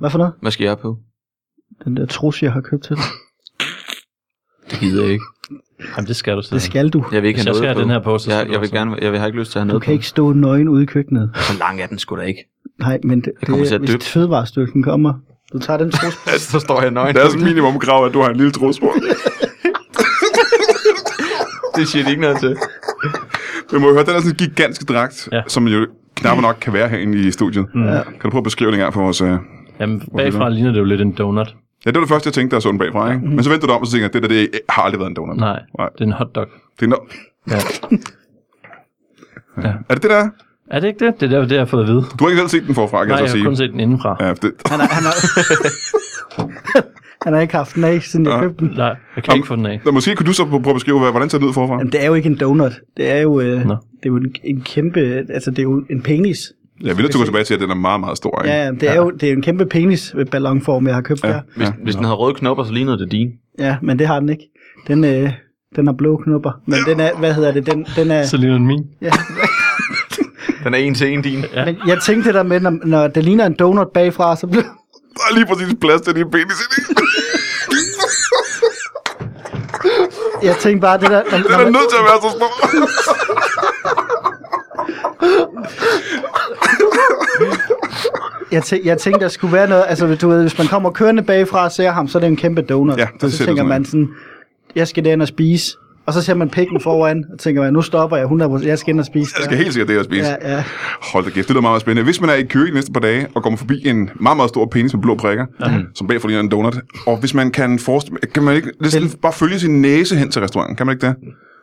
[SPEAKER 3] Hvad for noget?
[SPEAKER 4] Hvad skal jeg på?
[SPEAKER 3] Den der trus, jeg har købt til dig.
[SPEAKER 4] Det gider jeg ikke.
[SPEAKER 2] Jamen, det skal du selv.
[SPEAKER 3] Det skal du.
[SPEAKER 4] Jeg vil ikke
[SPEAKER 2] Hvis
[SPEAKER 4] have
[SPEAKER 2] jeg
[SPEAKER 4] noget
[SPEAKER 2] skal have
[SPEAKER 4] på.
[SPEAKER 2] den her på, så skal
[SPEAKER 4] jeg,
[SPEAKER 2] du
[SPEAKER 4] jeg vil
[SPEAKER 2] også.
[SPEAKER 4] gerne, jeg vil, har ikke lyst til at have
[SPEAKER 3] Du
[SPEAKER 4] noget
[SPEAKER 3] kan ikke stå nøgen ude i køkkenet.
[SPEAKER 4] på. Så lang er den sgu da ikke.
[SPEAKER 3] Nej, men det,
[SPEAKER 4] kommer
[SPEAKER 3] det
[SPEAKER 4] til
[SPEAKER 3] er,
[SPEAKER 4] at døbe.
[SPEAKER 3] hvis fødevarestyrelsen kommer. Du tager den trus.
[SPEAKER 4] Så står jeg nøgen.
[SPEAKER 1] Det er som minimum krav, at du har en lille trus på.
[SPEAKER 4] Det siger de ikke noget til.
[SPEAKER 1] Vi må jo høre, den er sådan en gigantisk dragt, ja.
[SPEAKER 2] Ja.
[SPEAKER 1] som jo knap nok kan være herinde i studiet. Ja. Kan du prøve at beskrive den engang for os? øh?
[SPEAKER 2] Jamen, bagfra ligner det jo lidt en donut.
[SPEAKER 1] Ja, det var det første, jeg tænkte, der er sådan bagfra,
[SPEAKER 3] Mm.
[SPEAKER 1] ikke? Men så vendte du dig om, og så tænkte jeg, det der, det har aldrig været en donut.
[SPEAKER 2] Nej,
[SPEAKER 1] Nej.
[SPEAKER 2] det er en hotdog.
[SPEAKER 1] Det er, no-
[SPEAKER 2] Ja.
[SPEAKER 1] er det det, der er?
[SPEAKER 2] Er det ikke det? Det er derfor, det har jeg fået at vide.
[SPEAKER 1] Du har ikke selv set den forfra, kan
[SPEAKER 2] Nej,
[SPEAKER 1] jeg
[SPEAKER 2] jeg
[SPEAKER 1] så
[SPEAKER 2] har
[SPEAKER 1] sige.
[SPEAKER 2] kun set den indenfra.
[SPEAKER 1] Ja, det,
[SPEAKER 3] Han har, han har, Han har ikke haft den af, siden jeg
[SPEAKER 1] Nej.
[SPEAKER 3] købte den.
[SPEAKER 2] Nej, jeg kan ikke få den af.
[SPEAKER 1] Nå, måske kunne du så prøve at beskrive, hvad- hvordan ser den ud forfra?
[SPEAKER 3] Jamen, det er jo ikke en donut. Det er jo, øh,
[SPEAKER 2] Nå.
[SPEAKER 3] det er jo en, en kæmpe... Altså, det er jo en penis.
[SPEAKER 1] Jeg vil at du går tilbage til, at den er meget, meget stor. Ikke?
[SPEAKER 3] Ja, ja, det er jo det er jo en kæmpe penis ved ballonform, jeg har købt ja. der.
[SPEAKER 4] Hvis, ja. hvis den havde røde knopper, så lignede det din.
[SPEAKER 3] Ja, men det har den ikke. Den, øh, den har blå knopper. Men den er, hvad hedder det, den, den er...
[SPEAKER 2] Så ligner den min.
[SPEAKER 3] Ja.
[SPEAKER 4] Den er en til en din.
[SPEAKER 2] Ja.
[SPEAKER 3] Men jeg tænkte det der med, når, når det ligner en donut bagfra, så bliver...
[SPEAKER 1] Der er lige præcis plads til din penis i det.
[SPEAKER 3] Jeg tænkte bare, det der... Når,
[SPEAKER 1] Den
[SPEAKER 3] når
[SPEAKER 1] er
[SPEAKER 3] man,
[SPEAKER 1] nødt til at være så stor.
[SPEAKER 3] jeg, tænkte, jeg tænkte, der skulle være noget... Altså, du ved, hvis man kommer kørende bagfra og ser ham, så er det en kæmpe donut.
[SPEAKER 1] Ja, det
[SPEAKER 3] og
[SPEAKER 1] ser
[SPEAKER 3] så
[SPEAKER 1] det
[SPEAKER 3] tænker
[SPEAKER 1] sådan
[SPEAKER 3] man
[SPEAKER 1] ud.
[SPEAKER 3] sådan, jeg skal derind og spise. Og så ser man pikken foran, og tænker man, nu stopper jeg 100%, jeg skal ind og spise.
[SPEAKER 1] Jeg
[SPEAKER 3] der.
[SPEAKER 1] skal helt sikkert det her spise.
[SPEAKER 3] Ja, ja.
[SPEAKER 1] Hold da kæft, det lyder meget, meget spændende. Hvis man er i Køge de næste par dage og kommer forbi en meget, meget stor penis med blå prikker, Mhm. som bagfor ligner en donut, og hvis man kan forestille... Kan man ikke lidt bare følge sin næse hen til restauranten? Kan man ikke det?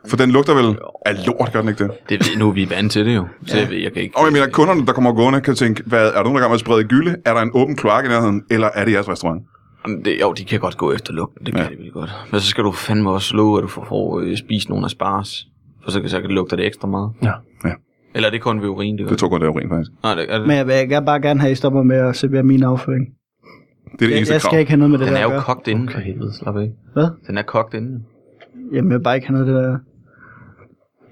[SPEAKER 1] For den lugter vel af lort, gør den ikke det?
[SPEAKER 4] Det ved, nu er vi vant til det jo. Så jeg, ved, jeg kan ikke...
[SPEAKER 1] Og jeg mener, kunderne, der kommer gående, kan tænke, hvad, er der nogen, der gerne vil sprede gylde? Er der en åben kloak i nærheden, eller er det jeres restaurant?
[SPEAKER 4] Jamen, Det, jo, de kan godt gå efter lugten, det kan
[SPEAKER 1] Ja.
[SPEAKER 4] ja. de vel godt. Men så skal du fandme også love, at du får, får øh, spist nogle af spars. For så kan så kan det lugte det ekstra meget.
[SPEAKER 2] Ja.
[SPEAKER 4] Eller er det kun ved urin, det gør?
[SPEAKER 1] Det tog godt af urin, faktisk.
[SPEAKER 4] Nej, det, er det,
[SPEAKER 3] Men jeg vil jeg vil bare gerne have, at I stopper med at servere min afføring.
[SPEAKER 1] Det er det
[SPEAKER 3] Jeg,
[SPEAKER 1] eneste
[SPEAKER 3] jeg
[SPEAKER 1] krav.
[SPEAKER 3] skal ikke have noget med det
[SPEAKER 4] den
[SPEAKER 3] der
[SPEAKER 4] er
[SPEAKER 3] at
[SPEAKER 4] jo
[SPEAKER 3] gøre.
[SPEAKER 4] kogt inden.
[SPEAKER 2] For helvede, slap af.
[SPEAKER 3] Hvad?
[SPEAKER 4] Den er kogt inden.
[SPEAKER 3] Jamen, jeg vil bare ikke have noget af det der.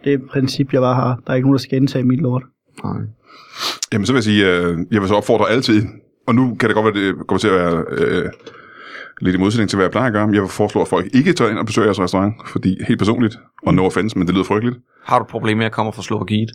[SPEAKER 3] Det er et princip, jeg bare har. Der er ikke nogen, der skal indtage mit lort.
[SPEAKER 4] Nej.
[SPEAKER 1] Jamen, så vil jeg sige, øh, jeg vil så opfordre altid, og nu kan det godt være, det kommer til at være øh, lidt i modsætning til, hvad jeg plejer at gøre, men jeg vil foreslå, at folk ikke tager ind og besøger jeres restaurant, fordi helt personligt, og no offense, men det lyder frygteligt.
[SPEAKER 4] Har du et problem med at komme fra Slovakiet?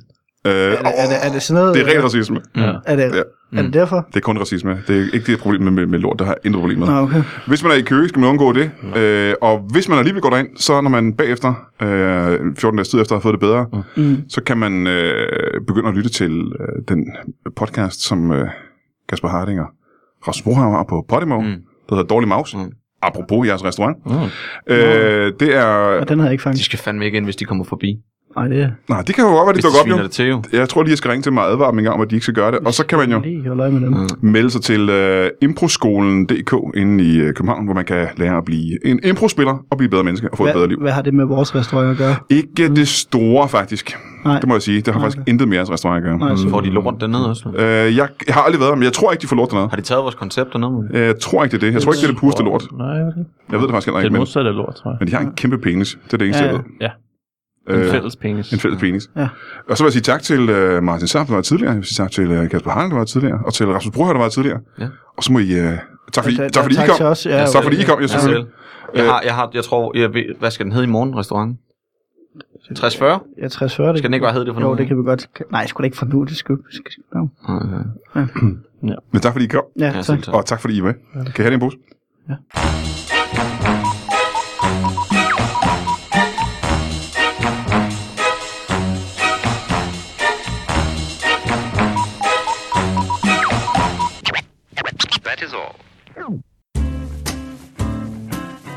[SPEAKER 1] Øh,
[SPEAKER 3] Er det, er det, er det sådan noget?
[SPEAKER 1] det er rent racisme.
[SPEAKER 2] Ja.
[SPEAKER 3] Er det,
[SPEAKER 1] Ja. Mm.
[SPEAKER 3] er det derfor?
[SPEAKER 1] Det er kun racisme. Det er ikke det problem med, med, med lort, der har intet problem med.
[SPEAKER 3] Nå, okay.
[SPEAKER 1] Hvis man er i kø, skal man undgå det. Øh, og hvis man alligevel går derind, så når man bagefter, øh, 14 dages tid efter, har fået det bedre, mm. så kan man øh, begynde at lytte til øh, den podcast, som øh, Kasper Harding og Rasmus Brohammer har på Podimo, mm. der hedder Dårlig Maus. Mm. Apropos jeres restaurant. Mm. Øh, det er...
[SPEAKER 3] Og den har jeg ikke
[SPEAKER 4] De
[SPEAKER 3] fanget.
[SPEAKER 4] skal fandme ikke ind, hvis de kommer forbi.
[SPEAKER 3] Nej, det er...
[SPEAKER 1] Nej, det kan jo godt være, det
[SPEAKER 4] Hvis de
[SPEAKER 1] dukker op
[SPEAKER 4] sviner
[SPEAKER 1] jo.
[SPEAKER 4] det til jo.
[SPEAKER 1] Jeg tror lige, jeg skal ringe til mig og advare dem en gang om, at de ikke skal gøre det. Og så kan man jo... Mm.
[SPEAKER 3] Lige holde øje med dem.
[SPEAKER 1] melde sig til øh, improskolen.dk inde i øh, København, hvor man kan lære at blive en improspiller og blive et bedre menneske og få et bedre
[SPEAKER 3] Hvad,
[SPEAKER 1] liv.
[SPEAKER 3] hvad har det med vores restaurant at gøre?
[SPEAKER 1] Ikke det store, faktisk.
[SPEAKER 3] Nej.
[SPEAKER 1] Det må jeg sige. Det har
[SPEAKER 3] Nej,
[SPEAKER 1] faktisk intet med jeres restaurant at gøre.
[SPEAKER 3] Nej, så
[SPEAKER 4] Får de lort dernede også?
[SPEAKER 1] Øh, jeg, jeg har aldrig været der, men jeg tror ikke, de får lort dernede. Øh,
[SPEAKER 4] Har de taget vores koncept dernede?
[SPEAKER 1] Jeg tror ikke, det er det. Jeg tror ikke, det er det puste lort.
[SPEAKER 2] Nej, det er
[SPEAKER 1] Jeg ved det faktisk heller
[SPEAKER 2] det
[SPEAKER 1] ikke, men,
[SPEAKER 2] modsatte af lort, tror jeg.
[SPEAKER 1] men de har en kæmpe penis. Det er det eneste,
[SPEAKER 3] Ja,
[SPEAKER 1] jeg ved.
[SPEAKER 2] Ja, en
[SPEAKER 1] Øh,
[SPEAKER 2] fælles penis.
[SPEAKER 1] en fælles penis.
[SPEAKER 3] Ja.
[SPEAKER 1] Og så vil jeg sige tak til øh, Martin Sapp, der var tidligere. Jeg vil sige tak til øh, Kasper Harling, der var tidligere. Og til Rasmus Brohøj, der var tidligere.
[SPEAKER 4] Ja.
[SPEAKER 1] Og så må I... Øh, tak fordi,
[SPEAKER 3] Ja,
[SPEAKER 1] tak, fordi
[SPEAKER 3] tak
[SPEAKER 1] I kom.
[SPEAKER 3] til os. Ja,
[SPEAKER 1] tak fordi I kom. Jeg,
[SPEAKER 4] Jeg,
[SPEAKER 1] selvfølgelig.
[SPEAKER 4] selv. jeg har, jeg har, jeg tror, jeg ved, hvad skal den hedde i morgen, restauranten?
[SPEAKER 1] Øh.
[SPEAKER 4] 6040?
[SPEAKER 3] Jeg er 60 40.
[SPEAKER 4] Skal den ikke bare hedde det for
[SPEAKER 3] Jo,
[SPEAKER 4] nu?
[SPEAKER 3] det kan vi godt. Nej, skulle da ikke for nu. Det skal vi. skal- nå.
[SPEAKER 4] Okay.
[SPEAKER 1] Men tak fordi I kom.
[SPEAKER 3] Ja,
[SPEAKER 4] Ja,
[SPEAKER 3] tak.
[SPEAKER 4] selv tak.
[SPEAKER 1] Og tak fordi I var med. Kan jeg have det i en pose?